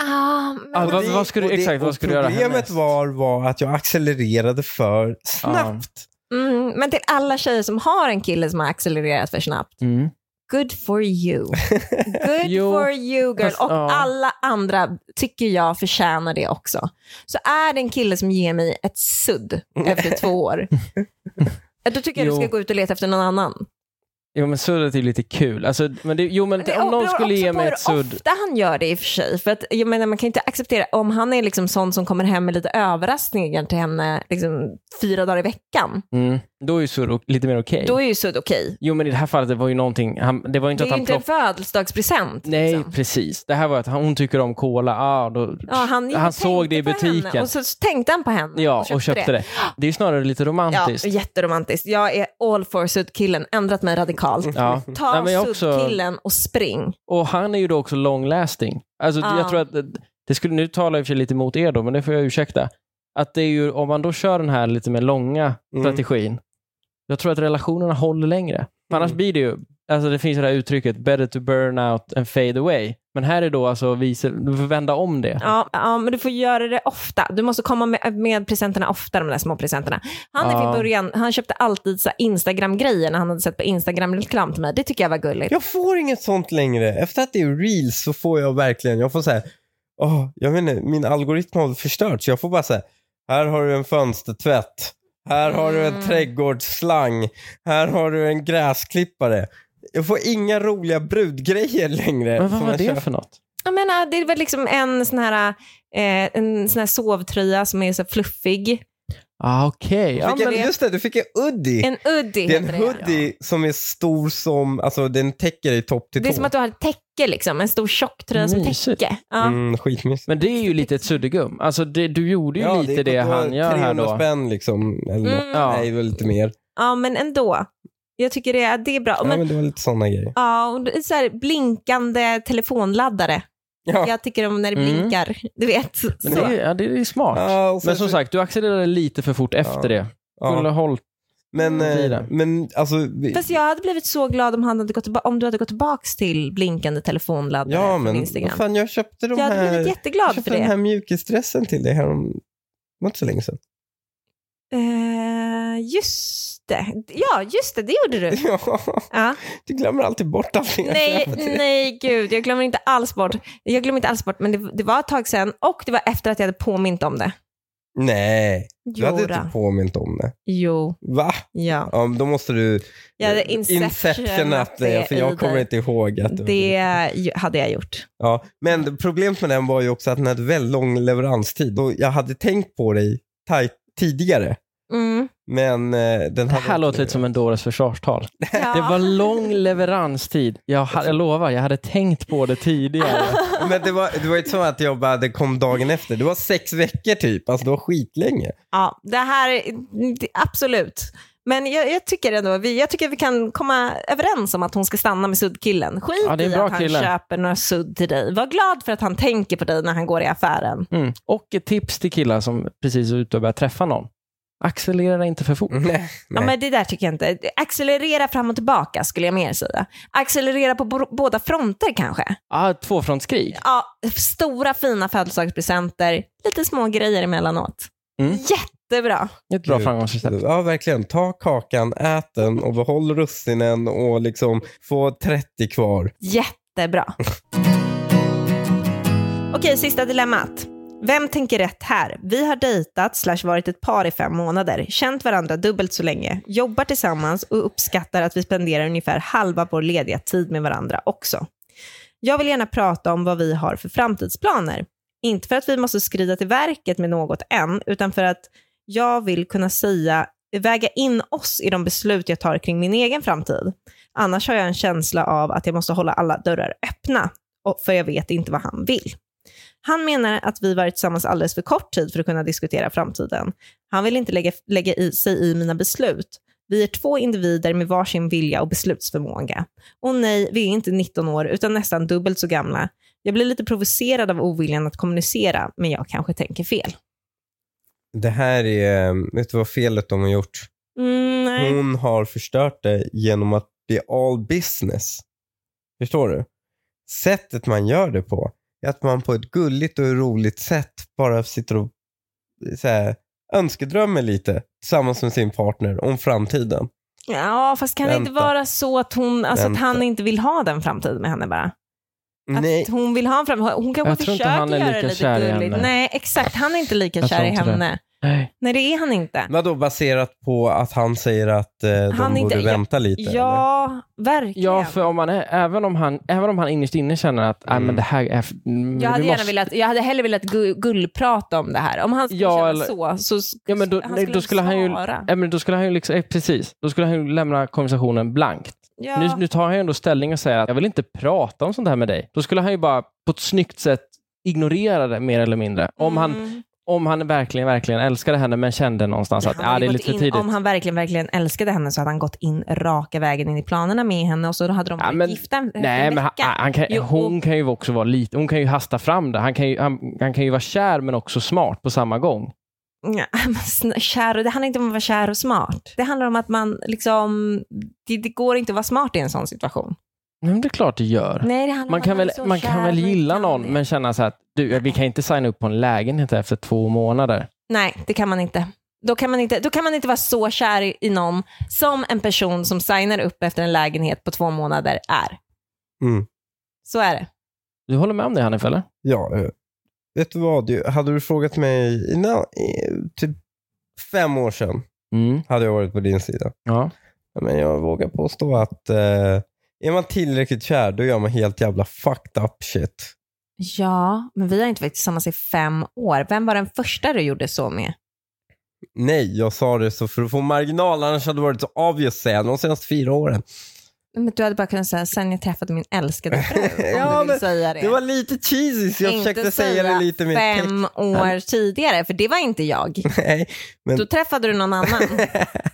Ah, men...
Ja, vad,
det-
vad ska du,
och det-
exakt,
och
vad ska du göra
Problemet
härnäst?
var, var att jag accelererade för snabbt.
Mm, men till alla tjejer som har en kille som har accelererat för snabbt,
Mm.
good for you. Good
Jo,
for you girl.
fast,
Och
ja.
alla andra tycker jag förtjänar det också. Så är det en kille som ger mig ett sudd efter två år, då tycker jag
Jo.
du ska gå ut och leta efter någon annan.
Jo, men suddet är ju lite kul. Alltså, men det, jo, men om någon
beror
skulle
också
ge
på
mig
hur
ett sudd.
ofta han gör det i och för sig. För att, jag menar, man kan inte acceptera, om han är liksom sån som kommer hem med lite överraskningar till henne liksom, fyra dagar i veckan,
Mm, då är ju sudd o- lite mer okej.
då är ju sudd okej.
Jo, men i det här fallet det var ju någonting. Han, det var ju inte
Det är
att
ju
han
inte en
plockade.
födelsedagspresent.
Nej,
liksom.
precis. Det här var att han, hon tycker om cola. Ah, då,
Ja, han gick och
såg det i
tänkte på henne,
butiken.
Och så tänkte han på henne
ja, och köpte, det. det. är ju snarare lite romantiskt.
Ja, jätteromantiskt. Jag är all for sudd-killen, ändrat mig radikalt.
Ja.
Ta
Nej, men jag också-
sudd-killen och spring.
Och han är ju då också long-lasting. Alltså,
Ja.
Ah.
jag tror att det skulle, nu talar jag i och för sig lite mot er då, men det får jag ursäkta. Att det är ju, om man då kör den här lite mer långa
Mm.
strategin, jag tror att relationerna håller längre. För Annars
Mm.
blir det ju, alltså det finns det här uttrycket, better to burn out and fade away. Men här är då alltså, vice, du får vända om det.
Ja, ja, men du får göra det ofta. Du måste komma med, med presenterna ofta, de där små presenterna. Han
Ja.
ja. i början, han köpte alltid så här Instagram-grejer när han hade sett på Instagram-reklam till mig. Det tycker jag var gulligt.
Jag får inget sånt längre. Efter att det är reels så får jag verkligen, jag får så här, åh, jag vet inte, min algoritm har förstörts. Jag får bara säga, här har du en fönstertvätt. Här har du en
Mm.
trädgårdsslang. Här har du en gräsklippare. Jag får inga roliga brudgrejer längre.
Men Eh, vad
som
var
jag
det
köper.
för något?
Jag menar, det var liksom en sån här, eh, en sån här sovtröja som är så fluffig.
Ah, Okej, ja,
Fick en-
men-
Just det, du fick en hoodie.
En hoodie
det är en
heter
hoodie som är stor som, alltså den täcker dig topp till
Det är
tå.
som att du har ett täcke, liksom. en stor tjock tröja som
Mysigt.
täcke. Ja.
Mm, skitmysigt.
men det är ju lite ett suddgum. Alltså det, du gjorde ju lite det,
kostar
han gör här
300
då.
spänn liksom. Eller något.
Mm.
Ja.
Nej, det var lite mer.
ja, men ändå. Jag tycker det, är- det är bra.
Ja,
Men,
men det var lite sådana grejer.
ja, och det är så här, blinkande telefonladdare.
Ja.
Jag tycker om när det
Mm.
blinkar, du vet. Så.
Men det, är- ja, det är smart.
Ja, och sen
Men som
så-
sagt, du accelererade lite för fort efter det. Skulle ha
Ja.
hållit.
Men,
Mm.
eh,
Fyra.
men alltså, vi-
Fast jag hade blivit så glad om, han hade gått tillba- om du hade gått tillbaka till blinkande telefonladdare
ja,
från
men vad
Instagram.
fan, jag köpte de
Jag hade
här,
blivit
jag
jätteglad
köpte
för
den
det.
här mjukisdressen till dig härom, det var inte så länge sedan.
Eh, just det. Ja, just det, det gjorde du.
Ja,
Ja.
du glömmer alltid bort allting jag
Nej,
köper till dig.
nej gud, jag glömmer inte alls bort. Jag glömmer inte alls bort, men det, det var ett tag sedan och det var efter att jag hade påmint om det.
Nej, du hade inte
Jodå.
påmint om det.
Jo,
Va?
ja.
Ja, men då måste du
Jag hade
eh,
inceptionat
det,
det
för
i
jag kommer
dig.
inte ihåg att
Det ju- hade jag gjort.
Ja, men det- problemet med den var ju också att den hade väldigt lång leveranstid och jag hade tänkt på dig taj- tidigare.
Mm.
Men eh, den
Det
hade
här
inte
låter lite som en dåres försvarstal.
Ja.
Det var lång leveranstid. Jag, ha- jag lovar, jag hade tänkt på det tidigare.
Men det var, det var inte som att jag bara, det kom dagen efter. Det var sex veckor typ. Alltså det var skitlänge.
Ja, det här, det- absolut. Men jag, jag tycker ändå, vi, jag tycker vi kan komma överens om att hon ska stanna med suddkillen. Skit
Ja, det är en
i
bra
att han
kille.
köper några sudd till dig. Var glad för att han tänker på dig när han går i affären.
Mm. Och ett tips till killar som precis är ute och börjar träffa någon. Accelerera inte för fort.
Nej.
Ja, men det där tycker jag inte. Accelerera fram och tillbaka skulle jag mer säga. Accelerera på bo- båda fronter kanske.
Ah, tvåfrontskrig.
Ja, stora fina födelsedagspresenter, lite små grejer emellanåt.
Mm.
Jättebra.
Ett bra
Gud.
framgångsrecept.
Ja, verkligen. Ta kakan, ät den och behåll russinen och liksom få 30 kvar.
Jättebra. Okej, sista dilemmat. Vem tänker rätt här? Vi har dejtat slash varit ett par i fem månader, känt varandra dubbelt så länge, jobbar tillsammans och uppskattar att vi spenderar ungefär halva vår lediga tid med varandra också. Jag vill gärna prata om vad vi har för framtidsplaner. Inte för att vi måste skrida till verket med något än, utan för att jag vill kunna säga, väga in oss i de beslut jag tar kring min egen framtid. Annars har jag en känsla av att jag måste hålla alla dörrar öppna, och- för jag vet inte vad han vill. Han menar att vi varit tillsammans alldeles för kort tid för att kunna diskutera framtiden. Han vill inte lägga, lägga i sig i mina beslut. Vi är två individer med varsin vilja och beslutsförmåga. Och nej, vi är inte 19 år utan nästan dubbelt så gamla. Jag blir lite provocerad av oviljan att kommunicera, men jag kanske tänker fel.
Det här är, eh, vet du vad felet de har gjort?
Mm, nej.
Hon har förstört det genom att bli all business. Förstår du? Sättet man gör det på är att man på ett gulligt och roligt sätt bara sitter och så här, önskedrömmer lite tillsammans med sin partner om framtiden.
Ja, fast kan det inte
Vänta.
vara så att, hon, alltså att
Vänta.
han inte vill ha den framtiden med henne bara? Att
Nej,
hon vill ha en framtid. Hon
Jag
kanske
tror inte
försöker
han är
göra
lika
det
kär
lite
i
gulligt.
henne.
Nej, exakt. Han är inte lika
Jag
kär
tror
i
inte det.
henne.
Nej.
Nej, det är han inte.
vadå baserat på att han säger att eh, de
Han
borde
inte- ja-
vänta lite? eller?
Ja, verkligen.
Ja, för om man är, även, om han, även om han innerst inne känner att "Nej,
Mm.
men det här är... f- mm,
Jag hade,
vi
gärna
måste-
velat, jag hade hellre velat gu- gullprata om det här. Om han skulle
Ja,
känna
eller-
så, så sk-
Ja, men då,
han
nej, då skulle han ju...
svara.
Ja, men då skulle han ju liksom, eh, precis, då skulle han ju lämna konversationen blankt.
Ja.
Nu, nu tar han ju ändå ställning och säger att jag vill inte prata om sånt här med dig. Då skulle han ju bara på ett snyggt sätt ignorera det mer eller mindre. Om, han,
Mm.
om han verkligen, verkligen älskade henne men kände någonstans att
Han
ah,
hade
det
gått
är lite för
in,
tidigt.
Om han verkligen, verkligen älskade henne så hade han gått in raka vägen in i planerna med henne och så hade de
Ja,
varit
men-
gifta en,
Nej,
en
men han,
vecka.
han kan,
Jo,
hon kan ju också vara lite, hon kan ju hasta fram det. Han kan ju, han, han kan ju vara kär men också smart på samma gång.
Ja, men sn- kär och, det handlar inte om att vara kär och smart. Det handlar om att man liksom, det, det går inte att vara smart i en sån situation.
Men det är klart det gör.
Nej, det handlar om
Man
att
kan
man är
väl,
så
man kan
kär
väl
och inte
gilla
kan
någon
det.
men känna så här att du, vi kan inte signa upp på en lägenhet efter två månader.
Nej, det kan man inte. Då kan man inte, då kan man inte vara så kär i- i någon som en person som signar upp efter en lägenhet på två månader är.
Mm.
Så är det.
Du håller med om det Hanif eller?
Ja, eh, vet du vad? Du- Hade du frågat mig innan, eh, typ fem år sedan
Mm.
hade jag varit på din sida.
Ja.
Ja, Men jag vågar påstå att eh, är man tillräckligt kär då gör man helt jävla fucked up shit.
Ja, men vi har inte varit tillsammans i fem år. Vem var den första du gjorde så med?
Nej, jag sa det så för att få marginal, annars hade det varit så obvious säga de senaste fyra åren.
Men du hade bara kunnat säga sen jag träffade min älskade fru, om
Ja,
du vill
men
säga det.
Det var lite cheesy så jag
Inte
försökte säga det lite mer
fem år
Nej.
tidigare, för det var inte jag.
text. Nej, men,
Då träffade du någon annan.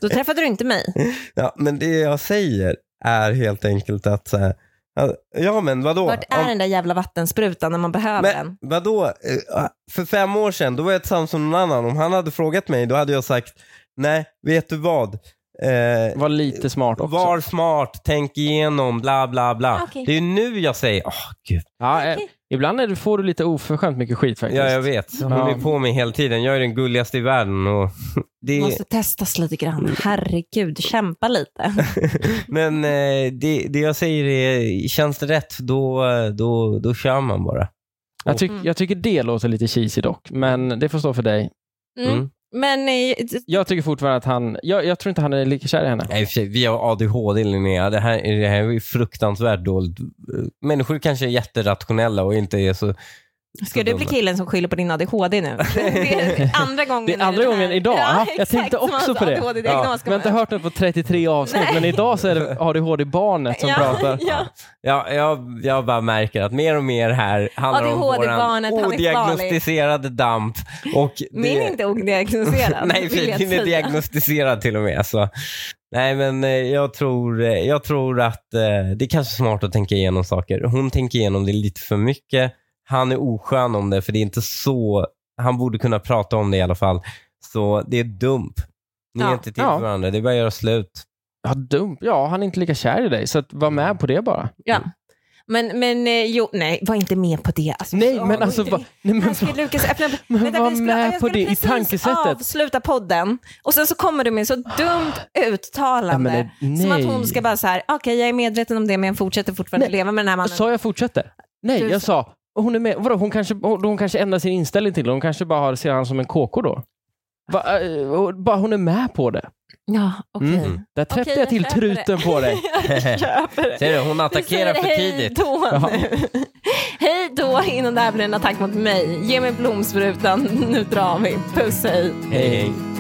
Då träffade du inte mig.
ja, men det jag säger är helt enkelt att så här, ja, ja men vadå?
Vart är
Om-
den där jävla vattensprutan när man behöver den?
Men vadå? Eh, För fem år sedan, då var jag tillsammans med någon annan. Om han hade frågat mig, då hade jag sagt, nej, vet du vad? Eh,
Var lite smart också.
var smart, tänk igenom, bla bla bla.
Okej.
Det är ju nu jag säger, åh gud.
Ja, eh, ibland är du, får du lite oförskämt mycket skit faktiskt.
Ja, jag vet. Hon
Ja.
är på mig hela tiden. Jag är den gulligaste i världen. Och det,
Måste testas lite grann. Herregud, kämpa lite.
Men eh, det, det jag säger är, känns det rätt, då, då, då kör man bara.
Jag, tyck,
Mm.
jag tycker det låter lite cheesy dock, men det får stå för dig.
Mm.
Mm.
Men eh,
Jag tycker fortfarande att han... Jag, jag tror inte han är lika kär i henne.
Nej, i och för sig, vi har ADHD Linnea. Det här, det här är ju fruktansvärt dåligt. Människor kanske är jätterationella och inte är så...
ska du bli
dumma.
killen som skyller på din ADHD nu? Det är andra gången.
Det är andra
i den här-
gången idag.
Ja,
Ja, jag
exakt,
tänkte
som alltså
också
hans
på det.
ADHD-diagnos
Ja.
kommer.
Vi har inte hört det på 33 avsnitt, men idag så är det ADHD-barnet som
ja,
pratar.
Ja.
Ja, jag, jag bara märker att mer och mer här handlar om
ADHD-barnet, han är
våran
farlig.
odiagnostiserade damp. Och det...
Min är inte odiagnostiserad.
Nej, för
vill jag
din är
säga.
diagnostiserad till och med. Så. Nej, men eh, jag tror, eh, jag tror att eh, det är kanske smart att tänka igenom saker. Hon tänker igenom det lite för mycket. Han är oskön om det, för det är inte så... Han borde kunna prata om det i alla fall. Så det är dumt. Ni är
Ja.
inte till
Ja.
för varandra. Det är bara att göra slut.
Ja, dumt. Ja, han är inte lika kär i dig, så att var med på det bara.
Men, men eh, jo, nej, var inte med på det. Alltså,
Nej,
så-
men alltså...
inte-
Va, nej, men,
Här ska Lukas öppna upp.
Men
Vänta,
var
vi skulle-
med
jag
på
skulle
det i
precis
tankesättet.
avsluta podden och sen så kommer du med så dumt uttalande.
Ja, men, eh,
Som att
nej.
hon ska bara så här, okej jag är medveten om det men jag fortsätter fortfarande
Nej.
leva med den här mannen.
Sa jag fortsätter? Nej,
Du
jag sa... Hon, är med, vadå, hon, kanske, hon, hon kanske ändrar sin inställning till det. Hon kanske bara har, ser han som en KK då. Va, eh, och bara hon är med på det.
Ja, okej.
Mm.
Där täppte
Okej,
jag till
jag köper det.
truten på dig.
Jag köper det.
Ser du, hon
Vi
attackerar
säger
för tidigt.
Hej då
Ja.
nu. Hej då innan det här blir en attack mot mig. Ge mig blomsprutan, nu drar vi. Puss hej.
Hej, hej.